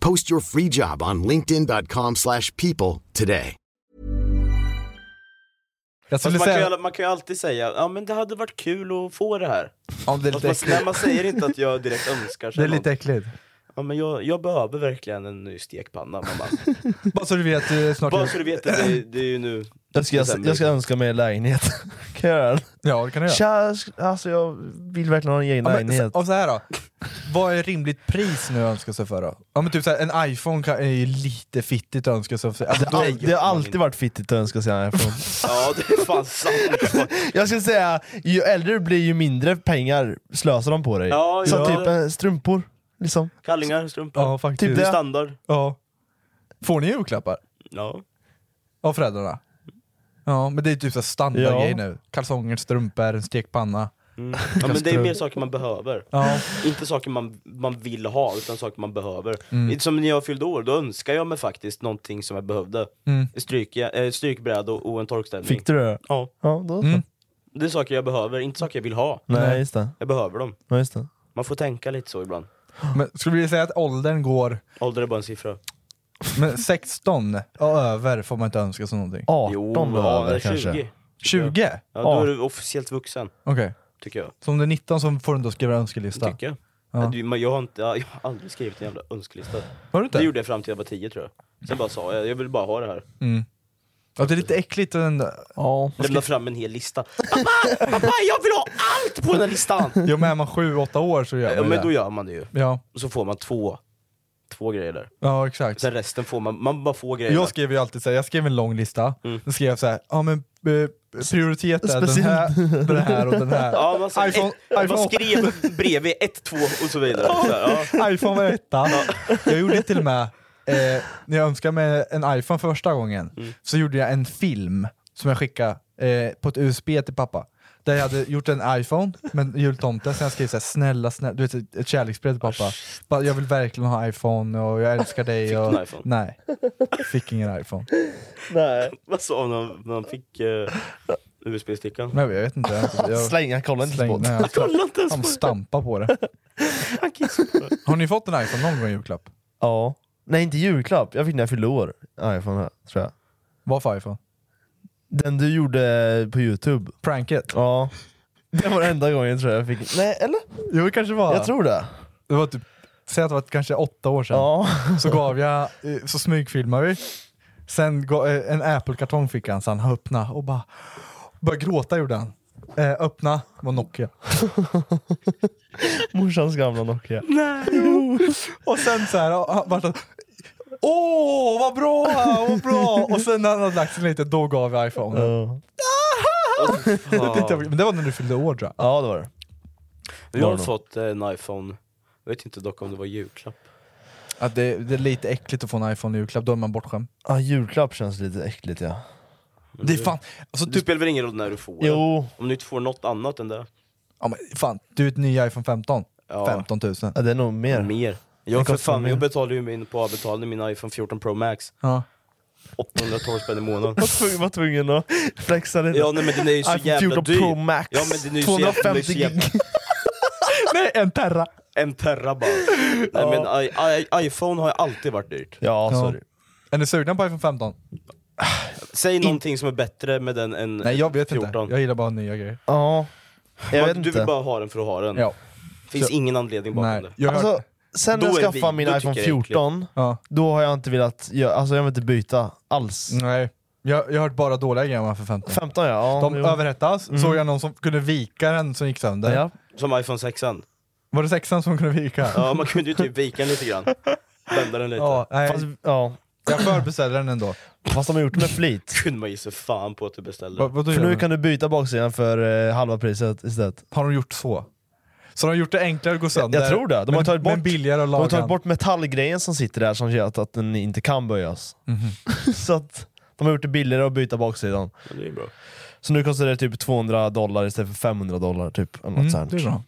Speaker 7: Post your free job on linkedin.com/people slash people today.
Speaker 3: Jag
Speaker 5: Fast
Speaker 3: skulle
Speaker 5: man,
Speaker 3: säga...
Speaker 5: kan ju, man kan ju alltid säga ja men det hade varit kul att få det här.
Speaker 3: Om det är lite
Speaker 5: Fast man,
Speaker 3: äckligt.
Speaker 5: nej, man säger inte att jag direkt önskar sig
Speaker 3: Det är
Speaker 5: någon.
Speaker 3: lite äckligt.
Speaker 5: Ja, men jag, jag behöver verkligen en ny stekpanna mamma.
Speaker 3: Bara så du vet, eh, snart
Speaker 5: Bara så du vet att det, det är ju nu
Speaker 4: Jag ska,
Speaker 5: december.
Speaker 4: jag ska önska mig en lägenhet. *laughs* kan jag göra det?
Speaker 3: Ja, det kan du göra.
Speaker 4: Tja, alltså jag vill verkligen ha en egen
Speaker 3: Ja, men,
Speaker 4: lägenhet.
Speaker 3: och så här då. Vad är rimligt pris nu att önska sig för då? Ja men typ så här, en iPhone kan, är ju lite fittigt att önska sig för. Alltså,
Speaker 4: det, har all, det har alltid varit fittigt att önska sig en iPhone.
Speaker 5: Ja det är fan sant.
Speaker 4: jag skulle säga, ju äldre du blir ju mindre pengar slösar de på dig.
Speaker 5: Ja,
Speaker 4: Som
Speaker 5: ja.
Speaker 4: typ eh, strumpor. Liksom.
Speaker 5: Kallingar, strumpor.
Speaker 3: Ja, faktiskt.
Speaker 5: Typ det. är standard.
Speaker 3: Ja. Får ni julklappar?
Speaker 5: Ja.
Speaker 3: Av föräldrarna? Ja men det är typ så här standardgrej
Speaker 5: Ja.
Speaker 3: nu. Kalsonger, strumpor, en stekpanna.
Speaker 5: Mm. Ja, men det är mer saker man behöver.
Speaker 3: Ja.
Speaker 5: Inte saker man, man vill ha, utan saker man behöver.
Speaker 3: Mm.
Speaker 5: Inte Som när jag fyllde år, då önskade jag mig faktiskt någonting som jag behövde.
Speaker 4: Mm.
Speaker 5: Stryk, eh, strykbräda och, och en torkställning.
Speaker 4: Fick du det?
Speaker 5: Ja.
Speaker 4: ja då så.
Speaker 5: Det är saker jag behöver, inte saker jag vill ha.
Speaker 4: Nej, just det.
Speaker 5: Jag behöver dem.
Speaker 4: Ja, just det.
Speaker 5: Man får tänka lite så ibland.
Speaker 3: Men skulle vi säga att åldern går...
Speaker 5: Ålder är bara en siffra.
Speaker 3: *laughs* Men 16 och över får man inte önska sig någonting?
Speaker 4: 18
Speaker 5: Jo, ja, över eller kanske. 20.
Speaker 3: 20?
Speaker 5: Ja, då är du officiellt vuxen,
Speaker 3: Okej.
Speaker 5: tycker jag.
Speaker 3: Så om du är 19 så får du inte skriva önskelista?
Speaker 5: Tycker jag.
Speaker 3: Ja.
Speaker 5: Ja. Du, men jag, har inte, jag har aldrig skrivit en jävla önskelista.
Speaker 3: Har du inte?
Speaker 5: Det gjorde jag fram till jag var 10 tror jag. Sen bara sa jag, jag vill bara ha det här.
Speaker 3: Mm. Ja, det är lite äckligt. Den...
Speaker 5: Mm.
Speaker 3: Ja.
Speaker 5: Lämna fram en hel lista. Pappa! Pappa, jag vill ha allt på den här listan!
Speaker 3: Jo men är man 7-8 år så gör
Speaker 5: Ja,
Speaker 3: man ju
Speaker 5: men
Speaker 3: det.
Speaker 5: då gör man det ju.
Speaker 3: Ja.
Speaker 5: Och så får man två två grejer där.
Speaker 3: Ja exakt.
Speaker 5: Sen resten får man, man bara får grejer.
Speaker 3: Jag skrev ju alltid så här, jag skrev en lång lista,
Speaker 5: Mm.
Speaker 3: då skrev jag så här, ja men eh, prioritet är den här, den här och den här.
Speaker 5: *laughs* Ja, man, skrev,
Speaker 3: iPhone,
Speaker 5: ett, man
Speaker 3: iPhone-
Speaker 5: skrev bredvid ett, två och så vidare. Så här, ja.
Speaker 3: iPhone var etta. Jag gjorde till och med, eh, när jag önskade mig en iPhone för första gången,
Speaker 5: Mm.
Speaker 3: så gjorde jag en film som jag skickade eh, på ett USB till pappa. Där jag hade gjort en iPhone med en jultomte, sen jag skrev såhär snälla, snälla, du vet ett- ett kärleksbrev till pappa. Bara, jag vill verkligen ha iPhone och jag älskar dig.
Speaker 5: Oh, Fick
Speaker 3: och...
Speaker 5: du en iPhone?
Speaker 3: Nej, fick ingen iPhone.
Speaker 5: Nej. Vad sa han när när han fick eh, USB-stickan?
Speaker 3: Nej, jag vet inte.
Speaker 5: *laughs*
Speaker 3: Jag- jag-
Speaker 5: Släng, han kollade inte på det.
Speaker 3: nej, han-
Speaker 5: Han kollade inte ens
Speaker 3: Han
Speaker 5: på det.
Speaker 3: stampade på
Speaker 5: *laughs*
Speaker 3: det. Har ni fått en iPhone någon gång i julklapp?
Speaker 4: Ja. Nej inte julklapp, jag fick den när jag fyllde år. iPhone här, tror jag.
Speaker 3: Vad för iPhone?
Speaker 4: Den du gjorde på youtube.
Speaker 3: Pranket?
Speaker 4: Ja. Det var den enda gången tror jag jag fick. Nej eller?
Speaker 3: Jo det kanske var.
Speaker 4: Jag tror det.
Speaker 3: Det var typ, säg att det var kanske åtta år sedan. Så gav jag, eh, så smygfilmade vi. Sen ga- eh, en Apple-kartong fick han, så han öppna och bara, började gråta gjorde han. Eh, öppna, det var Nokia.
Speaker 4: *laughs* Morsans gamla Nokia.
Speaker 3: Nej. och sen så här, och han vart han, Åh vad bra, vad bra! Och sen när han hade lagt sig lite, då gav jag iPhone. Det, tyckte jag, men det var när du fyllde år tror
Speaker 4: jag. Ja det var det.
Speaker 5: Jag
Speaker 3: Var
Speaker 5: har
Speaker 3: det
Speaker 5: fått eh, en iPhone, jag vet inte dock om det var julklapp.
Speaker 3: Att det, det är lite äckligt att få en iPhone i julklapp, då är man bortskämd.
Speaker 4: Ja, julklapp känns lite äckligt ja.
Speaker 3: Det är fan, alltså,
Speaker 5: det spelar väl ingen roll när du får
Speaker 4: Jo.
Speaker 5: den? Om du inte får något annat än det.
Speaker 3: ja, men fan, du är ett ny iPhone 15.
Speaker 5: Ja.
Speaker 3: 15 000.
Speaker 4: Ja, det är nog mer.
Speaker 5: Mer.
Speaker 3: Det
Speaker 5: Jag, för
Speaker 3: kostar
Speaker 5: fan,
Speaker 3: mer.
Speaker 5: jag betalar ju min på avbetalning min iPhone 14 Pro Max.
Speaker 3: Ja.
Speaker 5: 812 spänn
Speaker 4: *laughs*
Speaker 5: i månaden.
Speaker 4: Var tvungen, var tvungen att flexa lite.
Speaker 5: Ja nej, men den är ju så
Speaker 4: iPhone
Speaker 5: jävla
Speaker 4: 14
Speaker 5: dyr.
Speaker 4: Pro Max.
Speaker 5: Ja, men den är ju så jävla- den
Speaker 4: 250
Speaker 5: är så jävla-
Speaker 4: gig.
Speaker 3: Nej, en terra.
Speaker 5: En terra bara. Nej, men I, I, iPhone har ju alltid varit dyrt.
Speaker 4: Ja,
Speaker 3: sorry. Är ni sugna på iPhone 15?
Speaker 5: Säg någonting som är bättre med den än
Speaker 3: Nej jag vet
Speaker 5: 14.
Speaker 3: inte, jag gillar bara nya grejer.
Speaker 4: Ja. Jag
Speaker 5: Man-
Speaker 4: vet
Speaker 5: du
Speaker 4: inte.
Speaker 5: vill bara ha den för att ha den.
Speaker 4: Ja.
Speaker 5: Finns
Speaker 4: Så-
Speaker 5: ingen anledning bakom det.
Speaker 4: alltså, sen när
Speaker 5: Då
Speaker 4: jag
Speaker 5: är det
Speaker 4: skaffade
Speaker 5: vi-
Speaker 4: min
Speaker 5: då
Speaker 4: iPhone
Speaker 5: tycker jag det är
Speaker 4: 14,
Speaker 5: äckligt.
Speaker 4: då har jag inte velat, jag, alltså jag vill inte byta alls.
Speaker 3: Nej. Jag, jag har hört bara dåliga grejer om iPhone 15.
Speaker 4: 15 ja. ja
Speaker 3: De
Speaker 4: jo.
Speaker 3: överhettas,
Speaker 4: Mm.
Speaker 3: såg jag någon som kunde vika den som gick sönder.
Speaker 4: Ja.
Speaker 5: Som iPhone 6
Speaker 3: Var det sexan som kunde vika?
Speaker 5: Ja man kunde ju typ vika den lite grann. Vända den lite.
Speaker 3: Ja, nej.
Speaker 5: Fast
Speaker 4: ja.
Speaker 3: Jag förbeställde den ändå.
Speaker 4: Fast de har gjort det med flit.
Speaker 5: kunde man ju se fan på att du beställde den.
Speaker 4: för nu kan du byta baksidan för eh, halva priset istället.
Speaker 3: Har de gjort så? Så de har gjort det enklare att gå sönder?
Speaker 4: Jag tror det. De har
Speaker 3: men-
Speaker 4: tagit bort,
Speaker 3: Men billigare att
Speaker 4: de har
Speaker 3: laga.
Speaker 4: tagit bort metallgrejen som sitter där som gör att, att den inte kan böjas. *laughs* så att de har gjort det billigare att byta baksidan.
Speaker 5: Det är bra.
Speaker 4: Så nu kostar det typ 200 dollar istället för 500 dollar. Typ, eller något
Speaker 5: Mm,
Speaker 4: sånt.
Speaker 5: det är
Speaker 4: *laughs*
Speaker 5: bra.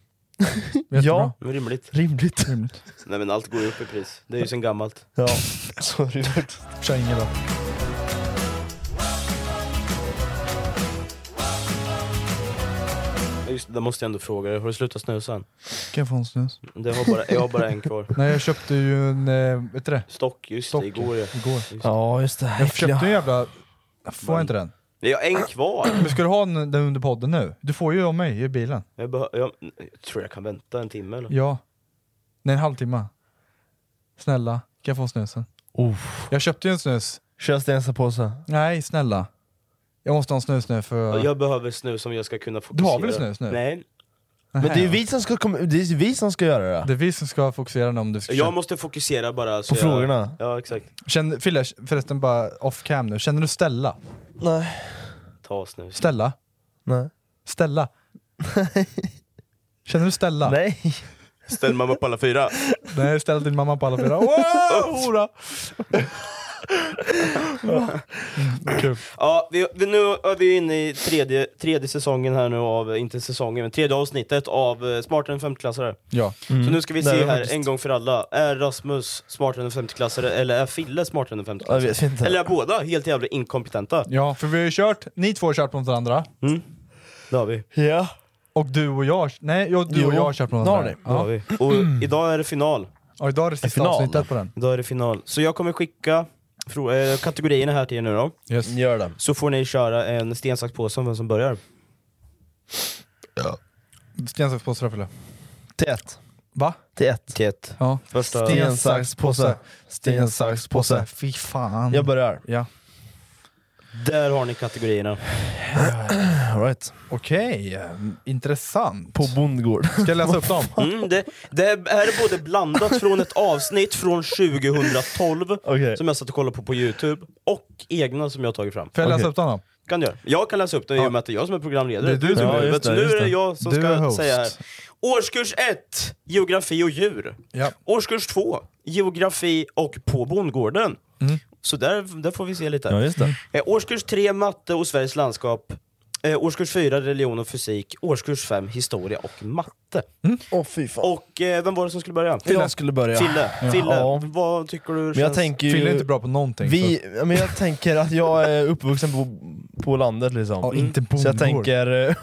Speaker 4: ja, *laughs*
Speaker 5: Men rimligt.
Speaker 4: rimligt.
Speaker 5: Nej men allt går ju upp i pris. Det är ju sen gammalt.
Speaker 4: Ja, sorry.
Speaker 3: Kör ingen då.
Speaker 5: Ja, Just det, där måste jag ändå fråga dig. Har du slutat snusa än?
Speaker 3: Kan jag få en snus?
Speaker 5: Det har bara, jag har bara en kvar.
Speaker 3: Nej jag köpte ju en, eh, vet du det?
Speaker 5: Stock, just det, igår ja. Just det.
Speaker 4: Ja just det.
Speaker 3: Jag köpte en jävla... Får jag inte den?
Speaker 5: Nej, Jag har en kvar.
Speaker 3: Men ska du ha den den under podden nu? Du får ju av mig i bilen.
Speaker 5: Jag, behö- jag, jag tror jag kan vänta en timme eller?
Speaker 3: Ja. Nej, en halvtimme. Snälla, kan jag få snusen? Jag köpte ju en snus.
Speaker 4: Kör stensa-påse.
Speaker 3: Nej, snälla. Jag måste ha en snus nu för...
Speaker 5: Jag behöver snus om jag ska kunna
Speaker 3: Du
Speaker 5: fokusera.
Speaker 3: har väl snus nu?
Speaker 5: Nej.
Speaker 4: Men det är ju vi som ska, komma, det är ju vi som ska göra det.
Speaker 3: Det är vi som ska fokusera nu om du ska...
Speaker 5: Jag måste fokusera bara. Så
Speaker 3: På
Speaker 5: jag,
Speaker 3: frågorna?
Speaker 5: Ja exakt.
Speaker 3: Känner, Fille, förresten bara off cam nu. Känner du Stella?
Speaker 4: Nej.
Speaker 5: Ta snus.
Speaker 3: Stella?
Speaker 4: Nej.
Speaker 3: Stella? Känner du Stella?
Speaker 4: Nej.
Speaker 5: Ställ mamma på alla fyra.
Speaker 3: Nej, ställ din mamma på alla fyra. Wow, hora! Kul.
Speaker 5: Ja, vi, vi, nu är vi inne i tredje, tredje säsongen här nu av, inte säsongen, men tredje avsnittet av eh, Smartare än femteklassare.
Speaker 3: Ja.
Speaker 5: Så nu ska vi
Speaker 4: Mm, det
Speaker 5: se
Speaker 4: är
Speaker 5: här
Speaker 4: faktiskt-
Speaker 5: en gång för alla, är Rasmus smartare än femteklassare eller är Fille smartare än femteklassare?
Speaker 4: Jag vet inte.
Speaker 5: *laughs* Eller är båda helt jävla inkompetenta?
Speaker 3: Ja, för vi har ju kört, ni två har kört mot varandra.
Speaker 5: Mm. Det har vi.
Speaker 4: Ja.
Speaker 3: Och du och jag, nej, jag, du
Speaker 5: Jo,
Speaker 3: och jag har kört mot
Speaker 5: det har
Speaker 3: varandra.
Speaker 5: ni. Det har vi. Och idag är det final.
Speaker 3: Ja, idag är det sista
Speaker 5: final.
Speaker 3: avsnittet på den.
Speaker 5: Idag är det final. Så jag kommer skicka fro- eh, kategorierna här till er nu då.
Speaker 3: Yes.
Speaker 4: Gör det.
Speaker 5: Så får ni köra en sten, sax, påse om vem som börjar.
Speaker 3: Sten, sax, påse, Raffele.
Speaker 4: Till ett.
Speaker 3: Va?
Speaker 4: Till ett.
Speaker 5: Till ett.
Speaker 3: Ja.
Speaker 5: Första...
Speaker 4: Sten, sax, påse.
Speaker 3: Sten, sax, påse. Fy fan.
Speaker 4: Jag börjar.
Speaker 3: Ja.
Speaker 5: Där har ni kategorierna.
Speaker 4: All right.
Speaker 3: Okej, eh, intressant.
Speaker 4: På
Speaker 5: *laughs*
Speaker 4: bondgård. Ska
Speaker 3: jag läsa upp dem?
Speaker 5: Mm, det, det här är både blandat från ett avsnitt från 2012 som jag satt och kollade på på Youtube och egna som jag har tagit fram.
Speaker 3: Får jag läsa upp dem då?
Speaker 5: Kan du göra. Jag kan läsa upp den i och med att det är jag som är programledare.
Speaker 3: Det är du som är- Ja, just
Speaker 5: Men
Speaker 3: det,
Speaker 5: Nu
Speaker 3: just
Speaker 5: är det
Speaker 3: det.
Speaker 5: jag som
Speaker 3: Du är
Speaker 5: ska
Speaker 3: host.
Speaker 5: säga här. Årskurs 1, geografi och djur.
Speaker 3: Ja.
Speaker 5: Årskurs 2, geografi och på bondgården. Så där, där får vi se lite.
Speaker 4: Ja, just det.
Speaker 5: Eh, årskurs 3, matte och Sveriges landskap. Eh, årskurs 4, religion och fysik. Årskurs 5, historia och matte.
Speaker 4: Åh fy fan.
Speaker 5: Och eh, vem var det som skulle börja?
Speaker 4: Mm. Fille skulle börja.
Speaker 5: Fille,
Speaker 4: Ja.
Speaker 5: Fille.
Speaker 4: Ja.
Speaker 5: vad tycker du känns...
Speaker 4: Men jag tänker ju, Vi, ja, men jag tänker att jag är uppvuxen på, på landet liksom.
Speaker 3: Ja, inte
Speaker 4: Så jag
Speaker 3: bondgård.
Speaker 4: tänker... eh,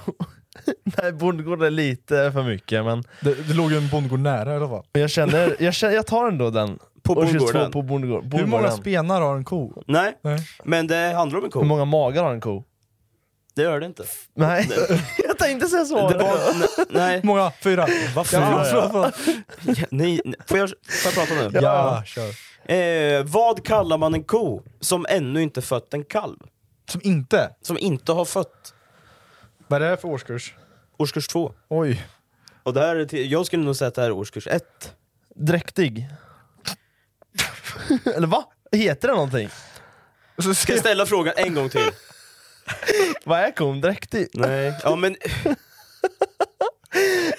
Speaker 4: *laughs* Nej, bondgård är lite för mycket men...
Speaker 3: Det, det låg ju en bondgård nära i alla fall.
Speaker 4: Men jag känner, jag, känner, jag tar ändå den.
Speaker 5: På
Speaker 4: Årskurs två
Speaker 5: bondgården.
Speaker 4: På bondgård,
Speaker 5: Hur många
Speaker 4: bondgården.
Speaker 3: spenar har en ko?
Speaker 5: Nej, men det handlar om en ko.
Speaker 4: Hur många magar har en ko?
Speaker 5: Det gör det inte.
Speaker 4: Nej.
Speaker 5: Det-
Speaker 4: *laughs* jag tänkte säga så.
Speaker 5: Det var, ne- nej.
Speaker 3: Många? Fyra?
Speaker 5: Vad
Speaker 4: Fyra,
Speaker 5: fan?
Speaker 4: ja.
Speaker 5: Ja, nej, nej. Får, jag, får jag prata nu?
Speaker 3: Ja, Ja. kör.
Speaker 5: Eh, vad kallar man en ko som ännu inte fött en kalv?
Speaker 3: Som inte?
Speaker 5: Som inte har fött.
Speaker 3: Vad är det för årskurs?
Speaker 5: Årskurs två.
Speaker 3: Oj.
Speaker 5: Och det här är till, jag skulle nog säga att det här är årskurs ett.
Speaker 4: Dräktig. *laughs* Eller va? Heter det någonting?
Speaker 5: Ska jag ställa frågan en
Speaker 4: *laughs*
Speaker 5: gång till?
Speaker 4: Vad är kon? Dräktig?
Speaker 5: Nej. Ja, men...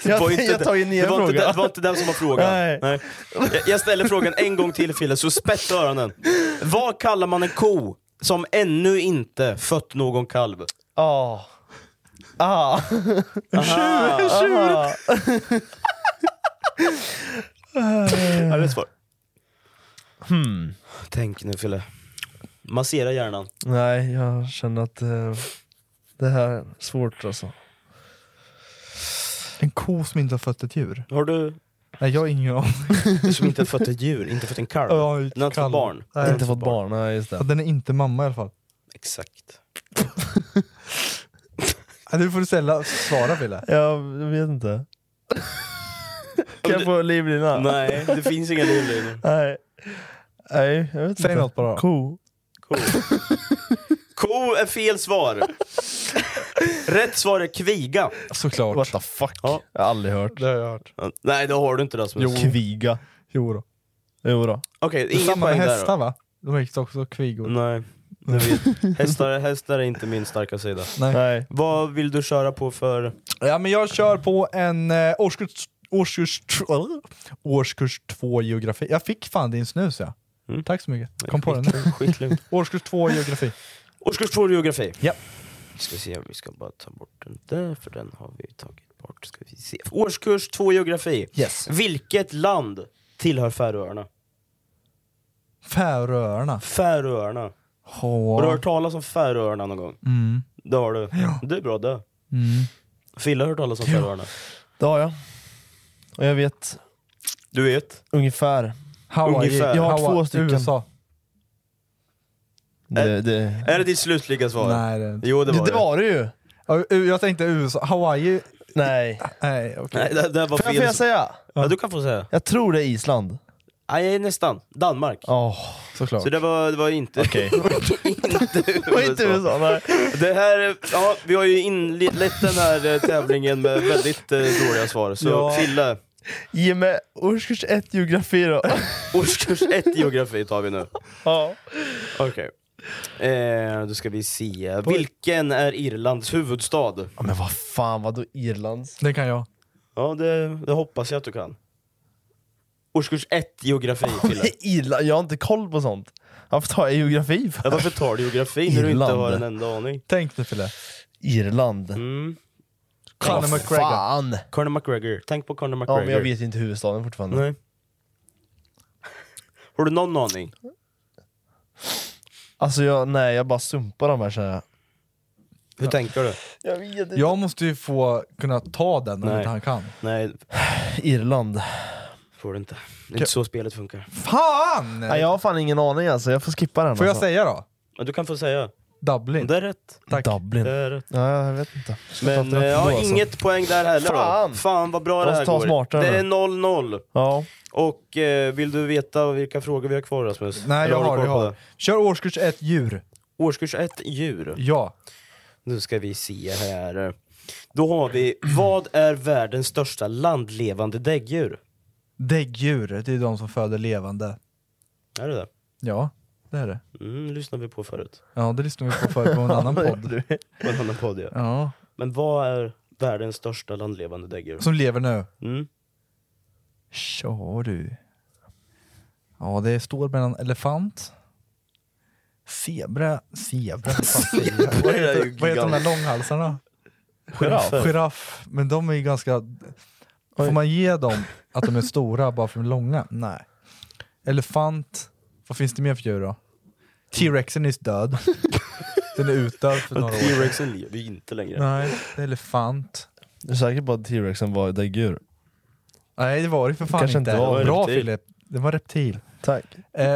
Speaker 4: jag
Speaker 5: var inte
Speaker 4: jag
Speaker 5: det-
Speaker 4: tar ju ner
Speaker 5: det var
Speaker 4: frågan.
Speaker 5: Inte, det- det var inte den som var frågan.
Speaker 4: Nej.
Speaker 5: Nej. Jag, jag ställer frågan en gång till Fille, så spetsa öronen. Vad kallar man en ko som ännu inte fött någon kalv?
Speaker 4: Ah. Ah. En
Speaker 5: tjur, en tjur. Ja, det är svårt.
Speaker 4: Hmm.
Speaker 5: Tänk nu Fille. Massera hjärnan.
Speaker 4: Nej, jag känner att eh, det här är svårt alltså.
Speaker 3: En ko som inte har fött ett djur?
Speaker 5: Har du?
Speaker 3: Nej, jag har ingen aning.
Speaker 5: Som inte har fött ett djur, inte fött en kalv.
Speaker 3: Ja,
Speaker 5: Den har inte
Speaker 3: kalv.
Speaker 5: fått barn.
Speaker 3: Nej.
Speaker 4: Inte fått barn, nej just
Speaker 3: Ja,
Speaker 4: det.
Speaker 3: den är inte mamma i alla fall.
Speaker 5: Exakt.
Speaker 3: Ja, du får ställa, svara Fille.
Speaker 4: Jag, jag vet
Speaker 5: *laughs*
Speaker 4: inte. kan jag få livlina?
Speaker 5: Nej, det finns inga livlinor.
Speaker 4: Nej. Nej, jag vet
Speaker 5: Säg
Speaker 4: inte.
Speaker 5: något bara.
Speaker 4: Ko.
Speaker 5: Ko är fel svar. Rätt svar är kviga.
Speaker 3: Såklart.
Speaker 4: What the fuck? Jag har aldrig hört.
Speaker 3: Det har jag hört.
Speaker 5: Nej, det har du inte Rasmus.
Speaker 4: Kviga.
Speaker 3: Jo då.
Speaker 4: Jo då.
Speaker 5: Okej,
Speaker 3: Det är
Speaker 5: ingen
Speaker 3: samma med
Speaker 5: poäng där
Speaker 3: hästar
Speaker 5: då.
Speaker 3: va? De är också kvigor.
Speaker 5: Nej. Jag vet. Hästar, hästar är inte min starka sida.
Speaker 3: Nej.
Speaker 5: Vad vill du köra på för...
Speaker 3: Ja, men jag kör på en eh, årskurs, årskurs, tw- årskurs två geografi. Jag fick fan din snus ja. Tack så mycket. Kom på den
Speaker 5: *laughs*
Speaker 3: nu.
Speaker 5: Skitlugnt.
Speaker 3: årskurs två geografi.
Speaker 5: Årskurs 2 geografi.
Speaker 3: Ja.
Speaker 5: Ska vi se, vi ska bara ta bort den där, för den har vi tagit bort. Ska vi se. Årskurs 2 geografi.
Speaker 3: Yes.
Speaker 5: Vilket land tillhör Färöarna?
Speaker 3: Färöarna.
Speaker 5: Färöarna. Har du
Speaker 3: Ha.
Speaker 5: hört talas om Färöarna någon gång?
Speaker 3: Mm.
Speaker 5: Det har du. Det är bra det.
Speaker 3: Mm.
Speaker 5: Fille har hört talas om
Speaker 4: Ja.
Speaker 5: Färöarna.
Speaker 4: Det har jag. Och jag vet
Speaker 5: Du vet?
Speaker 4: ungefär.
Speaker 5: Hawaii. Ungefär.
Speaker 4: Jag har
Speaker 5: Hawaii.
Speaker 4: två stycken.
Speaker 5: USA.
Speaker 4: Det, det...
Speaker 5: Är det ditt slutliga svar?
Speaker 3: Nej, det är inte.
Speaker 5: Jo, det var det.
Speaker 4: det ju.
Speaker 3: Ja, u- Jag tänkte USA. Hawaii.
Speaker 4: Nej.
Speaker 3: Nej, okej.
Speaker 5: *laughs* Nej, det, det
Speaker 4: Får
Speaker 5: var
Speaker 4: jag-
Speaker 5: fel.
Speaker 4: får jag säga?
Speaker 5: Ja, du kan få säga.
Speaker 4: Jag tror det är Island.
Speaker 5: Nej, nästan. Danmark.
Speaker 4: Oh, såklart.
Speaker 5: Så det var, det var
Speaker 4: *laughs*
Speaker 5: inte... *laughs*
Speaker 4: Okej.
Speaker 5: inte
Speaker 4: var inte USA, nej.
Speaker 5: Det här, ja, vi har ju inlett den här eh, tävlingen med väldigt eh, dåliga svar. Så
Speaker 4: Ja.
Speaker 5: Fille,
Speaker 4: Ge mig årskurs ett geografi
Speaker 5: *laughs*
Speaker 4: då.
Speaker 5: årskurs 1 geografi tar vi nu.
Speaker 4: ja.
Speaker 5: Okej. Eh, då ska vi se. Vilken är Irlands huvudstad?
Speaker 4: ja. Men vad fan, vadå Irlands?
Speaker 3: Det kan jag.
Speaker 5: Ja, det, det hoppas jag att du kan. Årskurs 1 geografi, Fille.
Speaker 4: Irland? Jag har inte koll på sånt. Varför tar jag geografi för?
Speaker 5: Ja, varför tar du geografi när du inte
Speaker 4: Irland.
Speaker 5: har en enda aning?
Speaker 3: Tänk nu Fille.
Speaker 4: Irland.
Speaker 5: Mm.
Speaker 4: Conor
Speaker 5: Vad
Speaker 4: McGregor.
Speaker 5: fan? Conor McGregor. Tänk på Conor
Speaker 4: Ja,
Speaker 5: McGregor.
Speaker 4: men jag vet ju inte huvudstaden fortfarande.
Speaker 5: Nej. Har du någon aning?
Speaker 4: Alltså jag, nej, jag bara sumpar de här känner jag.
Speaker 5: Hur tänker du?
Speaker 4: Jag vet inte.
Speaker 3: Jag måste ju få kunna ta den om
Speaker 5: Nej.
Speaker 3: inte han kan.
Speaker 5: Nej,
Speaker 4: Irland.
Speaker 5: får du inte. Det är inte så spelet funkar.
Speaker 3: Fan!
Speaker 4: Nej, jag har fan ingen aning alltså, jag får skippa den
Speaker 3: Får jag
Speaker 4: alltså.
Speaker 3: säga då?
Speaker 5: Ja, du kan få säga.
Speaker 3: Dublin.
Speaker 5: Det är rätt.
Speaker 3: Tack.
Speaker 4: Dublin.
Speaker 5: Det är rätt.
Speaker 4: Ja, jag vet inte.
Speaker 5: Men eh, ja,
Speaker 3: alltså?
Speaker 5: inget poäng där heller
Speaker 4: Fan.
Speaker 5: då. Fan vad bra det
Speaker 4: Måste
Speaker 5: här
Speaker 4: ta
Speaker 5: går.
Speaker 4: smartare
Speaker 5: det
Speaker 4: nu.
Speaker 5: är 0-0.
Speaker 4: Ja.
Speaker 5: Och eh, vill du veta vilka frågor vi har kvar Rasmus?
Speaker 3: Nej,
Speaker 5: Eller
Speaker 3: jag
Speaker 5: du
Speaker 3: har,
Speaker 5: koll
Speaker 3: jag
Speaker 5: på
Speaker 3: har. Kör årskurs ett djur.
Speaker 5: Årskurs 1, djur.
Speaker 3: Ja.
Speaker 5: Nu ska vi se här. Då har vi, vad är världens största landlevande däggdjur?
Speaker 3: Däggdjur, det är de som föder levande.
Speaker 5: Är det det?
Speaker 3: Ja, det är det.
Speaker 5: Mm, lyssnade vi på förut.
Speaker 3: Ja, det lyssnade vi på förut
Speaker 5: *laughs*
Speaker 3: på en annan podd.
Speaker 5: på en annan podd ja.
Speaker 3: Ja.
Speaker 5: Men vad är världens största landlevande däggdjur?
Speaker 3: Som lever nu.
Speaker 5: Mm.
Speaker 3: Tja du. Ja, det står mellan elefant, zebra, zebra, vad
Speaker 5: *laughs*
Speaker 3: fan säger jag?
Speaker 5: Zebra
Speaker 3: vad,
Speaker 5: är ju
Speaker 3: heter, vad heter de där
Speaker 5: gigant.
Speaker 3: långhalsarna?
Speaker 5: Giraff.
Speaker 3: Giraff. Men de är ju ganska... Får man ge dem att de är stora bara för de är långa? Nej. Elefant, vad finns det mer för djur då? T-rexen är ju död. Den är utdöd för några år
Speaker 5: *laughs*
Speaker 3: sedan.
Speaker 5: T-rexen lever ju inte längre.
Speaker 3: Nej, det är elefant.
Speaker 4: Du är säker på att T-rexen var däggdjur?
Speaker 3: Nej det var det för fan
Speaker 4: Kanske
Speaker 3: inte.
Speaker 4: inte var.
Speaker 3: Bra
Speaker 4: Reptil.
Speaker 3: Filip, det var reptil.
Speaker 4: Tack.
Speaker 3: Eh,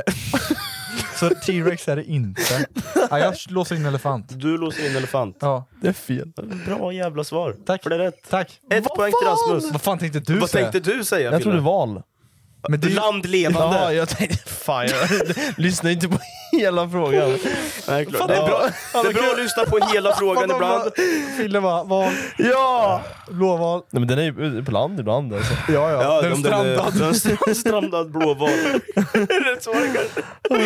Speaker 3: *laughs* så T-rex är det inte. Ja, jag låser in elefant.
Speaker 5: Du låser in elefant?
Speaker 3: Ja.
Speaker 4: Det är fel.
Speaker 5: Bra jävla svar.
Speaker 3: Tack.
Speaker 5: För det är rätt.
Speaker 3: Tack.
Speaker 5: Ett poäng till Rasmus.
Speaker 3: Vad fan tänkte du
Speaker 5: Vad
Speaker 3: säga?
Speaker 5: tänkte du säga?
Speaker 4: Jag trodde
Speaker 5: Fille?
Speaker 4: val.
Speaker 3: Men det är ju-
Speaker 5: Landlevande.
Speaker 4: Ja, jag tänkte fan, jag *laughs* lyssnar inte på hela frågan.
Speaker 5: Nej, klart. Det är bra, det är bra att lyssna på hela frågan ibland.
Speaker 3: Fille var val.
Speaker 4: Ja!
Speaker 3: Blåval.
Speaker 4: Nej men den är ju ute på land ibland alltså.
Speaker 3: Ja, ja.
Speaker 5: Ja, om den är- *laughs* den är stram- strandad *laughs* blåval. Rätt svar kanske. Ja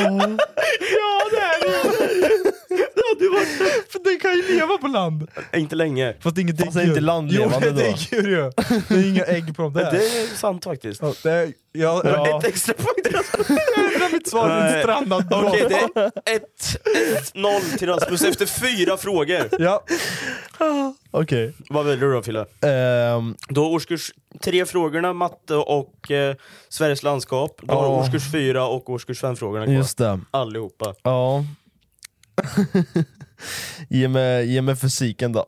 Speaker 5: det är det! Det hade ju varit
Speaker 3: För den kan ju leva på land.
Speaker 5: Inte länge.
Speaker 3: Fast det är inget däggdjur.
Speaker 4: Fast det är inte landlevande
Speaker 3: jo, det är
Speaker 4: då.
Speaker 3: däggdjur ju. Det är inga ägg på dem
Speaker 5: Men
Speaker 3: där.
Speaker 5: det är sant faktiskt.
Speaker 3: Ja, det är, ja,
Speaker 5: Ett extra poäng till Rasmus.
Speaker 3: Jag ändrar mitt svar till en
Speaker 5: Nej.
Speaker 3: strandad blåval.
Speaker 5: *laughs* Okej, det är 1-0 till Rasmus efter fyra frågor.
Speaker 3: Ja.
Speaker 4: Okej. ehm,
Speaker 5: Vad väljer du då Fille? Då årskurs tre frågorna, matte och eh, Sveriges landskap. Då har du
Speaker 4: Ja.
Speaker 5: årskurs fyra och årskurs fem frågorna kvar.
Speaker 4: Just det.
Speaker 5: Allihopa.
Speaker 4: Ja. *laughs* ge, mig, ge mig fysiken då.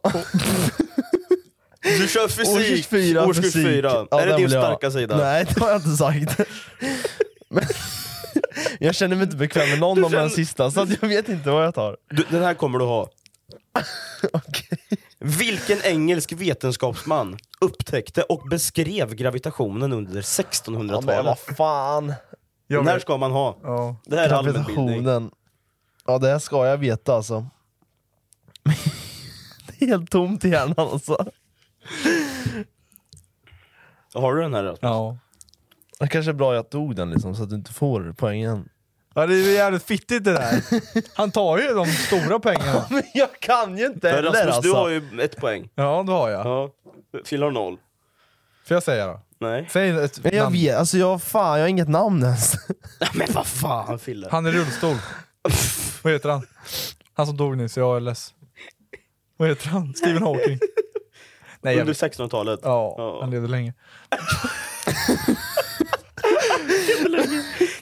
Speaker 5: Du kör fysik!
Speaker 4: Årskurs fyra.
Speaker 5: Årskurs
Speaker 4: fysik.
Speaker 5: fyra.
Speaker 4: Ja,
Speaker 5: är det
Speaker 4: den
Speaker 5: din
Speaker 4: vill jag ha.
Speaker 5: starka sida?
Speaker 4: Nej, det har jag inte
Speaker 5: *laughs*
Speaker 4: sagt. Men- *laughs* jag känner mig inte bekväm med någon av den sista, så att jag vet inte vad jag tar.
Speaker 5: Du, den här kommer du ha.
Speaker 4: *laughs*
Speaker 5: Vilken engelsk vetenskapsman upptäckte och beskrev gravitationen under 1600-talet?
Speaker 4: men vad fan!
Speaker 5: Den här ska man ha. Det här är allmänbildning.
Speaker 4: Gravitationen. Ja, det här ska jag veta alltså. *laughs* det är helt tomt i hjärnan alltså.
Speaker 5: Har du den här? Rasmus?
Speaker 3: Ja.
Speaker 4: Det kanske är bra jag tog den liksom, så att du inte får poängen.
Speaker 3: Ja, det är jävligt fittigt det
Speaker 4: *laughs*
Speaker 3: där. Han tar ju de stora pengarna.
Speaker 4: Men *laughs* jag kan ju inte
Speaker 5: Men
Speaker 4: heller
Speaker 5: Rasmus,
Speaker 4: alltså.
Speaker 5: du har ju ett poäng.
Speaker 3: Ja, det har jag.
Speaker 5: Ja. Fille har noll.
Speaker 3: Får jag säga då?
Speaker 5: Nej.
Speaker 3: Säg ett
Speaker 4: Men jag
Speaker 3: namn.
Speaker 4: vet, alltså jag, fan, jag har inget namn ens. *laughs*
Speaker 5: Men vad fan Fille?
Speaker 3: Han är i rullstol. Vad heter han? Han som dog nyss i ALS. Vad heter han? Stephen Hawking. Nej, jag
Speaker 5: Under
Speaker 3: vet.
Speaker 5: 1600-talet?
Speaker 3: Ja, han levde länge.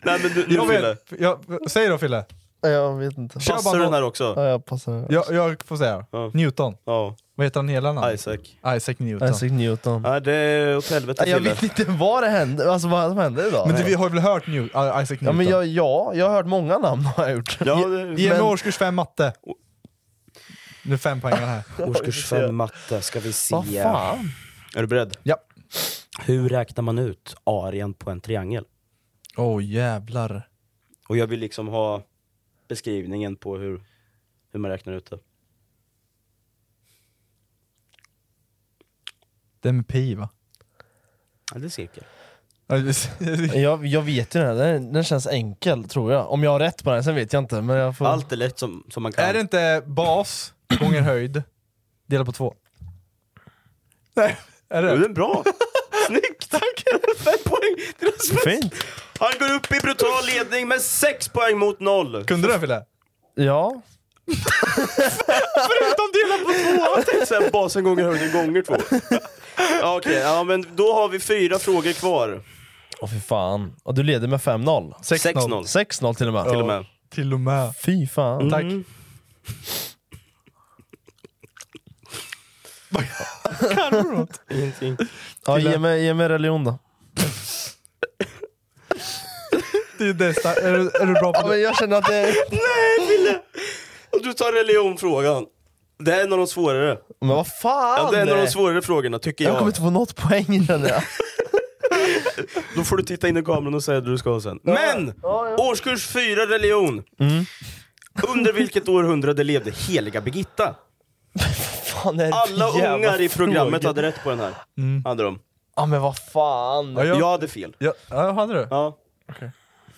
Speaker 5: Nej men du, nu
Speaker 3: Jag
Speaker 5: Fille.
Speaker 3: vet, jag, säg då Fille.
Speaker 4: Jag vet inte.
Speaker 3: Kör
Speaker 5: Passar
Speaker 3: bara
Speaker 5: den
Speaker 3: någon-
Speaker 5: här också?
Speaker 4: Ja, jag passar den.
Speaker 3: Jag, jag får säga. Newton.
Speaker 5: Ja.
Speaker 3: Vad heter han hela namn?
Speaker 5: Isaac.
Speaker 3: Isaac Newton.
Speaker 4: Isaac Newton.
Speaker 5: Nej det är åt helvete
Speaker 4: Nej, Jag
Speaker 5: Fille.
Speaker 4: vet inte vad det hände, alltså vad som hände idag.
Speaker 3: Men du, vi har väl hört New, Isaac Newton?
Speaker 4: ja, men jag, ja, jag har hört många namn har jag gjort.
Speaker 5: Ja, det-
Speaker 3: Ge mig
Speaker 4: men-
Speaker 3: årskurs 5 matte. Nu är fem poängen
Speaker 5: *laughs*
Speaker 3: här.
Speaker 5: Årskurs 5 matte ska vi se.
Speaker 4: Vad fan?
Speaker 5: Är du beredd?
Speaker 3: Ja.
Speaker 5: Hur räknar man ut arean på en triangel?
Speaker 3: Åh jävlar.
Speaker 5: Och jag vill liksom ha beskrivningen på hur, hur man räknar ut det.
Speaker 3: Det är med pi va? *laughs*
Speaker 5: Ja, det är cirkel.
Speaker 3: Ja, det-
Speaker 4: Jag, jag vet ju den här, den, den känns enkel tror jag. Om jag har rätt på den, sen vet jag inte. Men jag får...
Speaker 5: Allt är lätt som, som man kan.
Speaker 3: Är det inte bas gånger höjd delat på två? Nej, är
Speaker 5: Jo,
Speaker 3: det?
Speaker 5: den är bra! *laughs* Snyggt! Tack! Fem poäng till Rasmus!
Speaker 4: Fint.
Speaker 5: Han går upp i brutal ledning med sex poäng mot noll.
Speaker 3: Kunde du det Fille?
Speaker 4: Ja.
Speaker 5: Förutom dela på två! Jag tänkte såhär, basen gånger höjden gånger två. *laughs* Ja, Okej, ja men då har vi fyra frågor kvar.
Speaker 4: Åh fy fan. Och du leder med 5-0.
Speaker 5: 6-0.
Speaker 4: 6-0 till och med.
Speaker 5: Till och med.
Speaker 3: Till och med.
Speaker 4: Fy fan.
Speaker 3: Tack. Kan du något?
Speaker 5: Ingenting.
Speaker 4: Ja,
Speaker 3: Kille.
Speaker 4: ge, mig, ge mig religion då.
Speaker 3: Det är, nästa. Är, du, är du bra
Speaker 4: Ja,
Speaker 3: på
Speaker 4: men
Speaker 3: det?
Speaker 4: jag känner att det
Speaker 5: Nej Fille! Och du tar religionfrågan. Det här är en av de svårare.
Speaker 4: Men vad fan!
Speaker 5: Ja, det är en av de svårare frågorna tycker
Speaker 4: jag kommer
Speaker 5: jag.
Speaker 4: inte få något poäng känner jag.
Speaker 5: Då får du titta in i kameran och säga det du ska ha sen. Men! Årskurs
Speaker 4: Mm.
Speaker 5: 4 religion. Under vilket århundrade levde heliga Birgitta?
Speaker 4: *laughs* Fan, det är
Speaker 5: Alla
Speaker 4: för jävla Mm.
Speaker 5: ungar i programmet
Speaker 4: fråga?
Speaker 5: hade rätt på den här. Hade de.
Speaker 4: Ja men vad fan.
Speaker 5: Ja, jag... hade fel.
Speaker 3: Ja, hade du?
Speaker 5: Ja.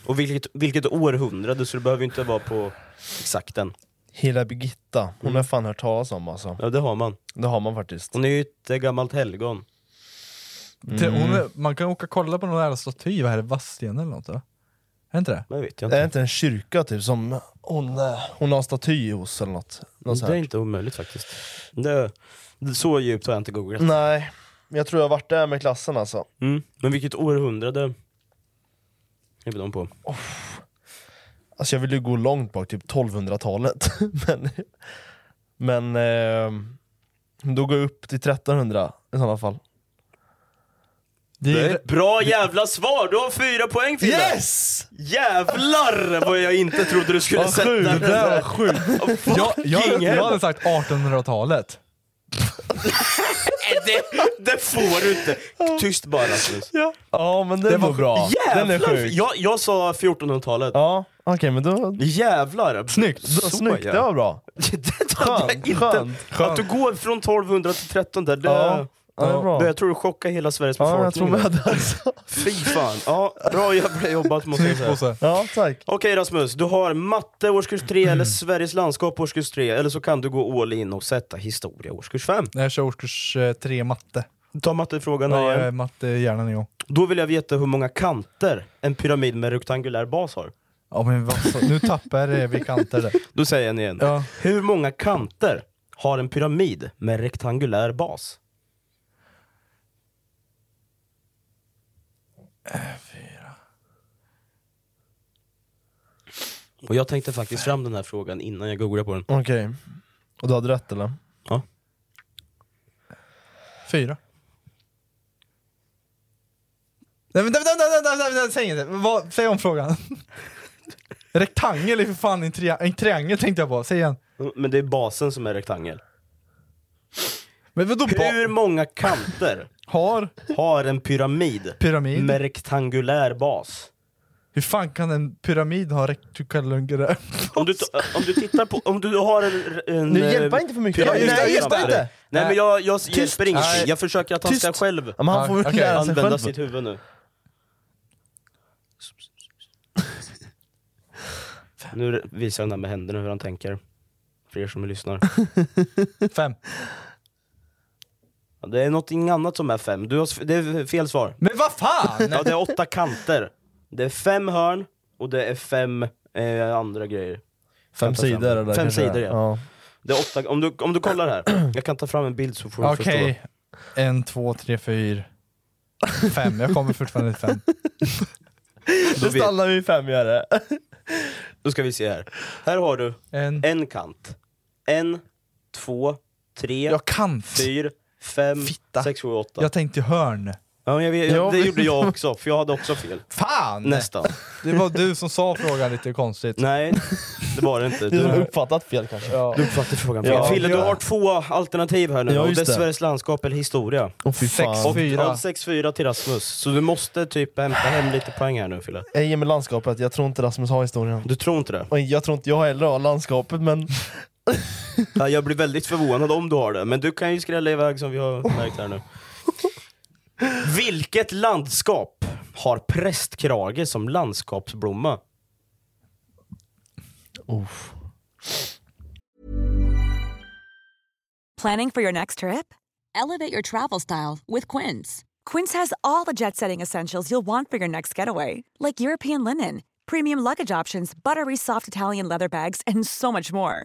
Speaker 5: Och vilket, vilket århundrade, så du behöver ju inte vara på exakt den.
Speaker 4: Hela Birgitta, hon har fan hört talas om alltså.
Speaker 5: Ja det har man.
Speaker 4: Det har man faktiskt.
Speaker 5: Hon är ju ett eh, gammalt helgon.
Speaker 3: Till- hon är- Man kan åka och kolla på någon jävla staty, vad är det, Vadstena eller något? va? Är det inte det?
Speaker 5: Det vet
Speaker 4: Det är inte en kyrka typ som hon, eh, hon har staty hos eller något. något så här.
Speaker 5: Det är inte omöjligt faktiskt. Det, det, så djupt har jag inte googlat.
Speaker 4: Nej, men jag tror jag har varit där med klassen alltså.
Speaker 5: Mm. Men vilket århundrade är de på?
Speaker 4: Alltså jag vill ju gå långt bak, typ 1200-talet. *laughs* men men eh, då går jag upp till 1300 i sådana fall.
Speaker 5: Det är ett bra jävla svar! Du har fyra poäng Fille!
Speaker 4: Yes!
Speaker 5: Jävlar vad jag inte trodde du skulle
Speaker 3: Vad
Speaker 5: sätta
Speaker 3: sjukt,
Speaker 5: den
Speaker 3: det där
Speaker 5: där.
Speaker 3: var sjukt. jag, jag, hade- jag hade sagt 1800-talet.
Speaker 5: Nej, det, det får du inte! Tyst bara Rasmus.
Speaker 4: Ja, men den
Speaker 5: Det
Speaker 4: det
Speaker 5: var
Speaker 4: var bra.
Speaker 5: Jävlar!
Speaker 4: Den är sjuk.
Speaker 5: Jag, jag sa 1400-talet.
Speaker 4: Ja, okej men då...
Speaker 5: Jävlar!
Speaker 4: Snyggt! Då,
Speaker 5: Så,
Speaker 4: snyggt,
Speaker 5: ja.
Speaker 4: det
Speaker 5: *laughs*
Speaker 4: var bra.
Speaker 5: skönt, inte,
Speaker 4: skönt,
Speaker 5: Att
Speaker 4: skönt.
Speaker 5: du går från 1200 till 13 där, det,
Speaker 4: Ja, ja, det är bra.
Speaker 5: det, jag tror du chockar hela Sveriges
Speaker 4: Ja, jag tror
Speaker 5: befolkning.
Speaker 4: med det.
Speaker 5: Fy fan. Ja, bra jävla jobbat måste jag
Speaker 4: Snyggt,
Speaker 5: säga.
Speaker 4: Bosse. Ja, tack.
Speaker 5: Okej Rasmus, du har matte årskurs
Speaker 3: *clears throat*
Speaker 5: 3 eller Sveriges landskap årskurs 3 eller så kan du gå all in och sätta historia årskurs 5.
Speaker 3: När jag kör årskurs eh, tre matte.
Speaker 5: Ta mattefrågan
Speaker 3: Ja,
Speaker 5: igen.
Speaker 3: eh, matte hjärnan igång.
Speaker 5: Då vill jag veta hur många kanter en pyramid med rektangulär bas har.
Speaker 3: Ja men vad så, nu tappar eh, vi kanter där.
Speaker 5: Då säger jag den igen. Hur många kanter har en pyramid med rektangulär bas?
Speaker 3: Äh,
Speaker 5: Och jag tänkte faktiskt fram den här frågan innan jag googlade på den.
Speaker 4: Okej. Och du hade rätt eller?
Speaker 5: Ja.
Speaker 3: Fyra. Nej, vänta, vänta, vänta, vänta, vänta, säg inte. Vad, säg om frågan. *laughs* Rektangel är för fan en, tria- en triangel tänkte jag på, säg igen.
Speaker 5: Men det är basen som är rektangel.
Speaker 3: Men vadå ba-
Speaker 5: Hur många kanter
Speaker 3: har?
Speaker 5: har en pyramid,
Speaker 3: Pyramid?
Speaker 5: med rektangulär bas?
Speaker 3: Hur fan kan en pyramid ha rektangulär?
Speaker 5: Om du, ta- om du tittar på, om du har en... en
Speaker 3: Nu, hjälpa inte för mycket. Ja, just det,
Speaker 5: Nej,
Speaker 3: hjälpa
Speaker 5: hjälpa
Speaker 3: inte.
Speaker 5: inte! Nej men jag, jag hjälper ingenting, jag försöker att han ska
Speaker 3: Tyst.
Speaker 5: själv
Speaker 3: Ja, men han får väl
Speaker 5: Okej,
Speaker 3: lära sig
Speaker 5: använda
Speaker 3: själv.
Speaker 5: sitt huvud nu. Nu visar han här med händerna hur han tänker, för er
Speaker 3: *laughs*
Speaker 5: som lyssnar.
Speaker 3: *laughs* Fem.
Speaker 5: Ja, Det är någonting annat som är fem, du har, s- det är fel svar.
Speaker 3: Men vad fan!
Speaker 5: Ja, det är åtta kanter. Det är fem hörn och det är fem eh, andra grejer.
Speaker 4: Fem
Speaker 5: Jag kan ta fram-
Speaker 4: sidor eller
Speaker 5: Fem
Speaker 4: kanske
Speaker 5: sidor
Speaker 4: det är.
Speaker 5: ja.
Speaker 4: Ja.
Speaker 5: Det är åtta, om, du, om du kollar här, jag kan ta fram en bild så får du
Speaker 3: Okej,
Speaker 5: förstå.
Speaker 3: en, två, tre, fyra, fem. Jag kommer fortfarande till fem.
Speaker 4: Då
Speaker 5: vet-
Speaker 4: stannar vi i fem gör det.
Speaker 5: *laughs* Då ska vi se här. Här har du
Speaker 3: en,
Speaker 5: kant. En, två, tre,
Speaker 3: Ja, kant.
Speaker 5: fyra, fem, sex, sju, åtta.
Speaker 3: Jag tänkte hörn.
Speaker 5: Ja, men jag, vet-
Speaker 3: Ja,
Speaker 5: det
Speaker 3: men-
Speaker 5: gjorde jag också, för jag hade också fel.
Speaker 3: Fan!
Speaker 5: Nästan.
Speaker 3: Det var du som sa frågan lite konstigt.
Speaker 5: Nej, det var
Speaker 4: *laughs*
Speaker 5: det inte.
Speaker 4: Du har
Speaker 5: Du,
Speaker 4: uppfattat fel kanske.
Speaker 5: du uppfattade frågan fel.
Speaker 4: Ja,
Speaker 5: Fille, du
Speaker 4: ja.
Speaker 5: har två alternativ här nu.
Speaker 4: Ja,
Speaker 5: och
Speaker 4: just
Speaker 5: det är
Speaker 4: det.
Speaker 5: Sveriges landskap eller historia.
Speaker 4: Åh, fy fan.
Speaker 5: Och- ja, 6-4 till Rasmus. Så du måste typ hämta hem lite poäng här nu Fille.
Speaker 4: Jag ger mig landskapet, jag tror inte Rasmus har historien.
Speaker 5: Du tror inte det?
Speaker 4: Och jag tror inte jag heller har landskapet men...
Speaker 5: Ja, Jag blir väldigt förvånad om du har det, men du kan ju skrälla iväg som vi har märkt här nu. Vilket landskap har prästkrage som landskapsblomma?
Speaker 15: Planning for your next trip? Elevate your travel style with Quince. Quince has all the jet setting essentials you'll want for your next getaway, like European linen, premium luggage options, buttery soft Italian leather bags, and so much more.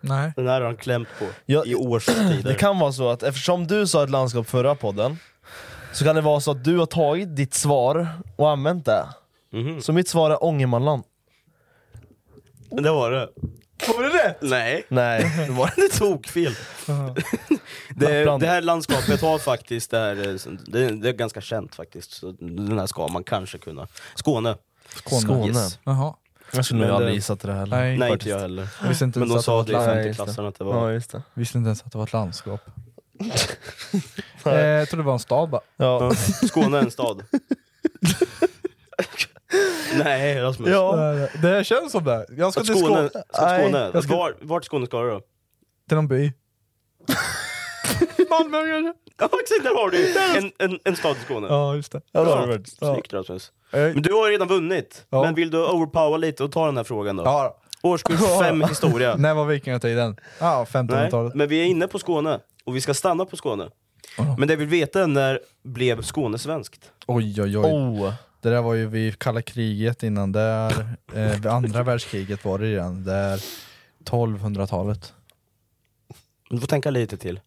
Speaker 3: Nej.
Speaker 5: Den här har han klämt på
Speaker 4: Ja,
Speaker 5: i årstider.
Speaker 4: Det kan vara så att eftersom du sa ett landskap förra podden, så kan det vara så att du har tagit ditt svar och använt det.
Speaker 5: Mhm.
Speaker 4: Så mitt svar är Ångermanland.
Speaker 5: Det var det.
Speaker 4: Var det rätt?
Speaker 5: Nej.
Speaker 4: Nej.
Speaker 5: *laughs* Det var det tokfel. *laughs* det, det här landskapet har faktiskt, det, här, eh, som- det, det är ganska känt faktiskt. Så den här ska man kanske kunna. Skåne. Yes.
Speaker 3: Jaha.
Speaker 4: Jag skulle nog
Speaker 5: Men,
Speaker 4: aldrig
Speaker 5: eh,
Speaker 4: gissat det här heller.
Speaker 3: Nej,
Speaker 5: Nej, inte jag heller.
Speaker 3: Jag visste inte
Speaker 5: Men
Speaker 3: ens
Speaker 5: de
Speaker 3: att
Speaker 5: sa
Speaker 3: var ett
Speaker 5: det i
Speaker 3: land-
Speaker 5: femteklassen att det var-
Speaker 4: Ja, just det.
Speaker 3: Visste inte ens att det var ett
Speaker 5: *laughs*
Speaker 3: landskap. eh, jag trodde det var en stad bara.
Speaker 4: Ja.
Speaker 5: Skåne är en stad. Nej Rasmus.
Speaker 3: Det, det känns som det. Jag ska
Speaker 5: Att
Speaker 3: till Skåne.
Speaker 5: Skåne, ska
Speaker 3: Nej,
Speaker 5: Skåne.
Speaker 3: Jag ska
Speaker 5: Var, vart Skåne ska du då?
Speaker 3: till någon by.
Speaker 5: Malmö kanske? Ja exakt, där har du en, en, en stad i Skåne.
Speaker 3: Ja, just det.
Speaker 5: Ja,
Speaker 3: Ja,
Speaker 5: Snyggt Rasmus. Men du har ju redan vunnit. Men vill du overpower lite och ta den här frågan då?
Speaker 3: Ja.
Speaker 5: Årskurs 5 historia.
Speaker 3: När var vikingatiden? Ja, ah,
Speaker 5: Nej,
Speaker 3: 1500-talet.
Speaker 5: men vi är inne på Skåne och vi ska stanna på Skåne. Men det vi vill veta är när blev Skåne svenskt?
Speaker 3: Oj, oj, oj.
Speaker 5: Oh.
Speaker 4: Oh.
Speaker 3: Det där var ju vid kalla kriget innan där. Eh, vid andra världskriget var det redan. Där 1200-talet.
Speaker 5: Du får tänka lite till.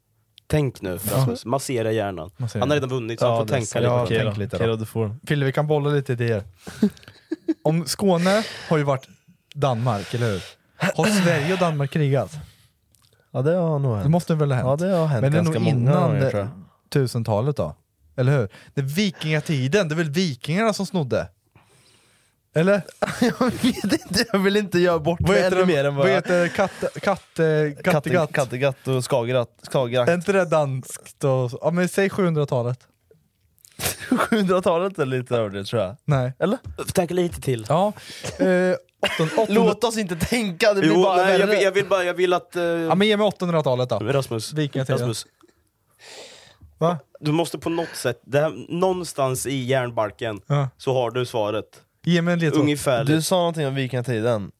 Speaker 5: Tänk nu Rasmus, massera hjärnan.
Speaker 3: Massera.
Speaker 5: Han har redan vunnit så han får tänka lite.
Speaker 3: Ja,
Speaker 5: Okej
Speaker 3: tänk
Speaker 5: då.
Speaker 3: lite
Speaker 5: Okej
Speaker 3: då.
Speaker 5: då, du får den.
Speaker 3: Fille, vi kan bolla lite idéer. Om Skåne har ju varit Danmark, eller hur? Har Sverige och Danmark krigat?
Speaker 4: Ja det har nog hänt.
Speaker 3: Det måste väl ha hänt?
Speaker 4: Ja, det har hänt
Speaker 3: Men det är nog
Speaker 4: ganska många
Speaker 3: innan
Speaker 4: gånger,
Speaker 3: det-
Speaker 4: tror jag.
Speaker 3: 1000-talet då? Eller hur? Det är vikingatiden, det är väl vikingarna som snodde? Eller?
Speaker 4: *laughs* jag vet inte, jag vill inte göra bort
Speaker 3: Vad
Speaker 4: mig
Speaker 3: heter
Speaker 4: ännu
Speaker 3: det?
Speaker 4: mer
Speaker 3: Vad
Speaker 4: än vad jag...
Speaker 3: heter det? Katt... Katt... eh, Kattegatt?
Speaker 4: Kattegatt och Skagerrak. Skagerrak.
Speaker 3: Är inte det danskt? Och, ja men säg 700-talet.
Speaker 4: 700-talet är lite över det tror jag.
Speaker 3: Nej.
Speaker 4: Eller?
Speaker 5: Tänk lite till.
Speaker 3: Ja. Eh,
Speaker 4: *laughs* Låt oss inte tänka, det blir
Speaker 5: Jo,
Speaker 4: bara
Speaker 5: nej, jag,
Speaker 4: värre.
Speaker 5: vill, jag vill bara, jag vill att... eh,
Speaker 3: ja men ge mig 800-talet då.
Speaker 5: Rasmus.
Speaker 3: Vikingatiden.
Speaker 5: Rasmus.
Speaker 3: Va?
Speaker 5: Du måste på något sätt, det här, någonstans i hjärnbarken
Speaker 3: Ja.
Speaker 5: så har du svaret.
Speaker 3: Ge mig en ledtråd.
Speaker 5: Ungefär.
Speaker 4: Du sa någonting om vikingatiden.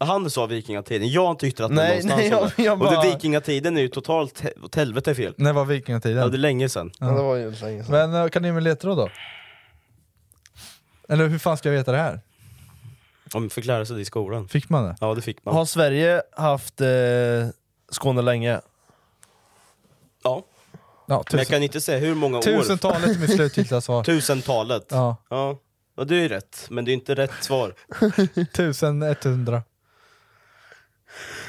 Speaker 5: Han sa vikingatiden, jag tyckte att det
Speaker 4: Nej,
Speaker 5: var någonstans
Speaker 4: nej, jag-
Speaker 5: där.
Speaker 4: jag bara-
Speaker 5: Och det vikingatiden är ju totalt he- åt helvete fel.
Speaker 3: När var vikingatiden?
Speaker 5: Ja, det är länge sedan.
Speaker 3: Ja, det
Speaker 4: var ju länge
Speaker 3: Men eh, kan ni ge mig en ledtråd då? Eller hur fan ska jag veta det här?
Speaker 5: Om förklara sig i skolan.
Speaker 3: Fick man det?
Speaker 5: Ja, det fick man.
Speaker 4: Har Sverige haft eh, Skåne länge?
Speaker 3: Ja,
Speaker 5: Ja. Men
Speaker 3: tusen,
Speaker 5: jag kan inte säga hur många år.
Speaker 3: Tusentalet är mitt slutgiltiga
Speaker 4: *laughs*
Speaker 3: svar.
Speaker 5: Tusentalet.
Speaker 3: Ja.
Speaker 5: Ja. ja, det är ju rätt. Men det är inte rätt svar.
Speaker 3: Tusen etthundra.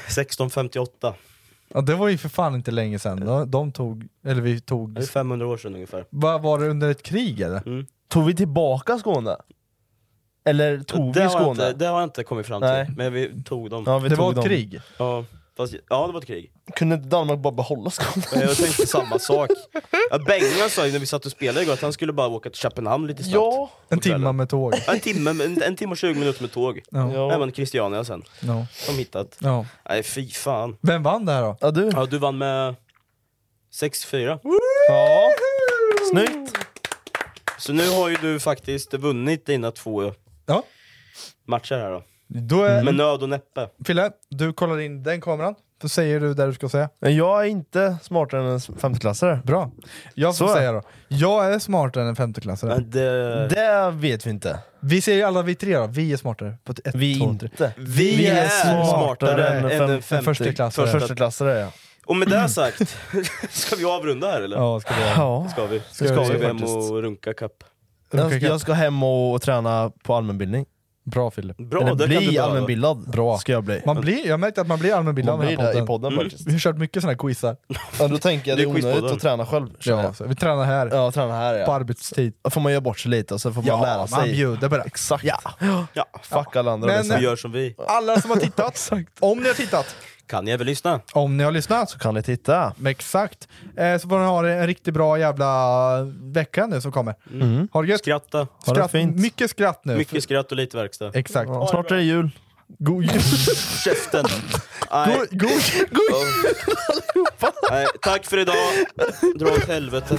Speaker 5: 1658.
Speaker 3: Ja, det var ju för fan inte länge sedan. De, de tog, eller vi
Speaker 5: Det
Speaker 3: tog...
Speaker 5: är 500 år sedan ungefär.
Speaker 3: Va, var det under ett krig eller?
Speaker 4: Mm. Tog vi tillbaka Skåne? Eller tog
Speaker 5: det,
Speaker 4: vi
Speaker 5: har jag
Speaker 4: Skåne?
Speaker 5: inte, det har jag inte kommit fram till.
Speaker 4: Nej.
Speaker 5: Men vi tog dem.
Speaker 4: Ja, vi
Speaker 3: det
Speaker 4: tog
Speaker 3: var ett
Speaker 4: dem.
Speaker 3: krig.
Speaker 5: Ja, fast, ja, det var ett krig.
Speaker 4: Kunde inte Danmark bara behålla Skåne?
Speaker 5: Men Jag tänkte samma sak. Ja, Bengan sa ju när vi satt och spelade igår att han skulle bara åka till Köpenhamn lite snabbt.
Speaker 4: Ja.
Speaker 3: En timme med tåg.
Speaker 5: En timme, en, en timme och 20 minuter med tåg.
Speaker 3: Ja. Ja.
Speaker 5: Nej men Christiania sen.
Speaker 3: Ja.
Speaker 5: Som hittat.
Speaker 3: Ja.
Speaker 5: Nej fy fan.
Speaker 3: Vem vann det här då?
Speaker 4: Ja, du.
Speaker 5: Ja, du vann med 6-4.
Speaker 4: Ja. Snyggt!
Speaker 5: Så nu har ju du faktiskt vunnit dina två
Speaker 3: Ja.
Speaker 5: matcher här då.
Speaker 3: Då är,
Speaker 4: Mm.
Speaker 5: Med nöd och näppe.
Speaker 3: Fille, du kollar in den kameran. Då säger du där du ska säga.
Speaker 4: Men jag är inte smartare än en femteklassare.
Speaker 3: Bra. Jag får
Speaker 4: Så.
Speaker 3: säga då. Jag är smartare än femteklassare.
Speaker 5: Men det...
Speaker 4: Det vet vi inte.
Speaker 3: Vi säger ju alla vi tre då, vi är smartare. På ett,
Speaker 4: Vi
Speaker 3: två, tre.
Speaker 4: inte.
Speaker 5: Vi, är smartare, än,
Speaker 4: fem-
Speaker 5: en femte...
Speaker 3: försteklassare.
Speaker 5: första-
Speaker 4: Försteklassare ja.
Speaker 5: Och med *clears throat* det sagt, *laughs* ska vi avrunda här eller?
Speaker 3: Ja, ska vi göra.
Speaker 4: ja.
Speaker 5: Ska vi?
Speaker 4: vi
Speaker 5: Ska vi
Speaker 4: göra
Speaker 5: hem
Speaker 4: faktiskt.
Speaker 5: och runka kapp?
Speaker 4: Jag,
Speaker 3: Runka
Speaker 4: jag ska hem och, och träna på allmänbildning.
Speaker 3: Bra Fille.
Speaker 5: Bra,
Speaker 4: Eller
Speaker 5: det kan du
Speaker 4: bli
Speaker 5: behöva.
Speaker 4: allmänbildad. Bra. Ska jag bli.
Speaker 3: Man blir, jag märkte att man blir allmänbildad
Speaker 4: Man
Speaker 3: av den här
Speaker 4: blir
Speaker 3: podden.
Speaker 4: det i podden
Speaker 5: Mm.
Speaker 4: faktiskt.
Speaker 3: Vi har kört mycket sådana här quizar.
Speaker 4: Ja, då tänker jag det
Speaker 5: Det
Speaker 4: är
Speaker 5: är
Speaker 4: onödigt
Speaker 5: quizpodden.
Speaker 4: att träna själv. känner
Speaker 3: Ja,
Speaker 4: jag.
Speaker 3: så Alltså, vi tränar här
Speaker 4: Ja, träna här
Speaker 3: på
Speaker 4: ja.
Speaker 3: arbetstid.
Speaker 4: Då får man göra bort sig lite och så får man
Speaker 3: Ja,
Speaker 4: lära sig.
Speaker 3: man bjuder på det.
Speaker 4: Exakt.
Speaker 5: Ja.
Speaker 4: Fuck alla andra.
Speaker 3: Men-
Speaker 4: liksom.
Speaker 5: Vi gör som vi.
Speaker 3: *laughs* Alla som har tittat, om ni har tittat,
Speaker 5: Kan jag väl lyssna?
Speaker 4: Om ni har lyssnat så kan ni titta.
Speaker 3: Mm. Exakt. Eh, så får ni ha en riktigt bra jävla vecka nu som kommer.
Speaker 4: Mm.
Speaker 3: Har gött.
Speaker 5: Skratta.
Speaker 4: Ha det fint.
Speaker 3: Mycket skratt nu.
Speaker 5: Mycket skratt och lite verkstad.
Speaker 3: Exakt.
Speaker 5: Ja.
Speaker 4: Snart är det jul.
Speaker 3: God jul.
Speaker 5: *laughs* Käften. Nej.
Speaker 3: *laughs* God, god,
Speaker 5: god jul Nej, tack för idag. Dra åt helvete.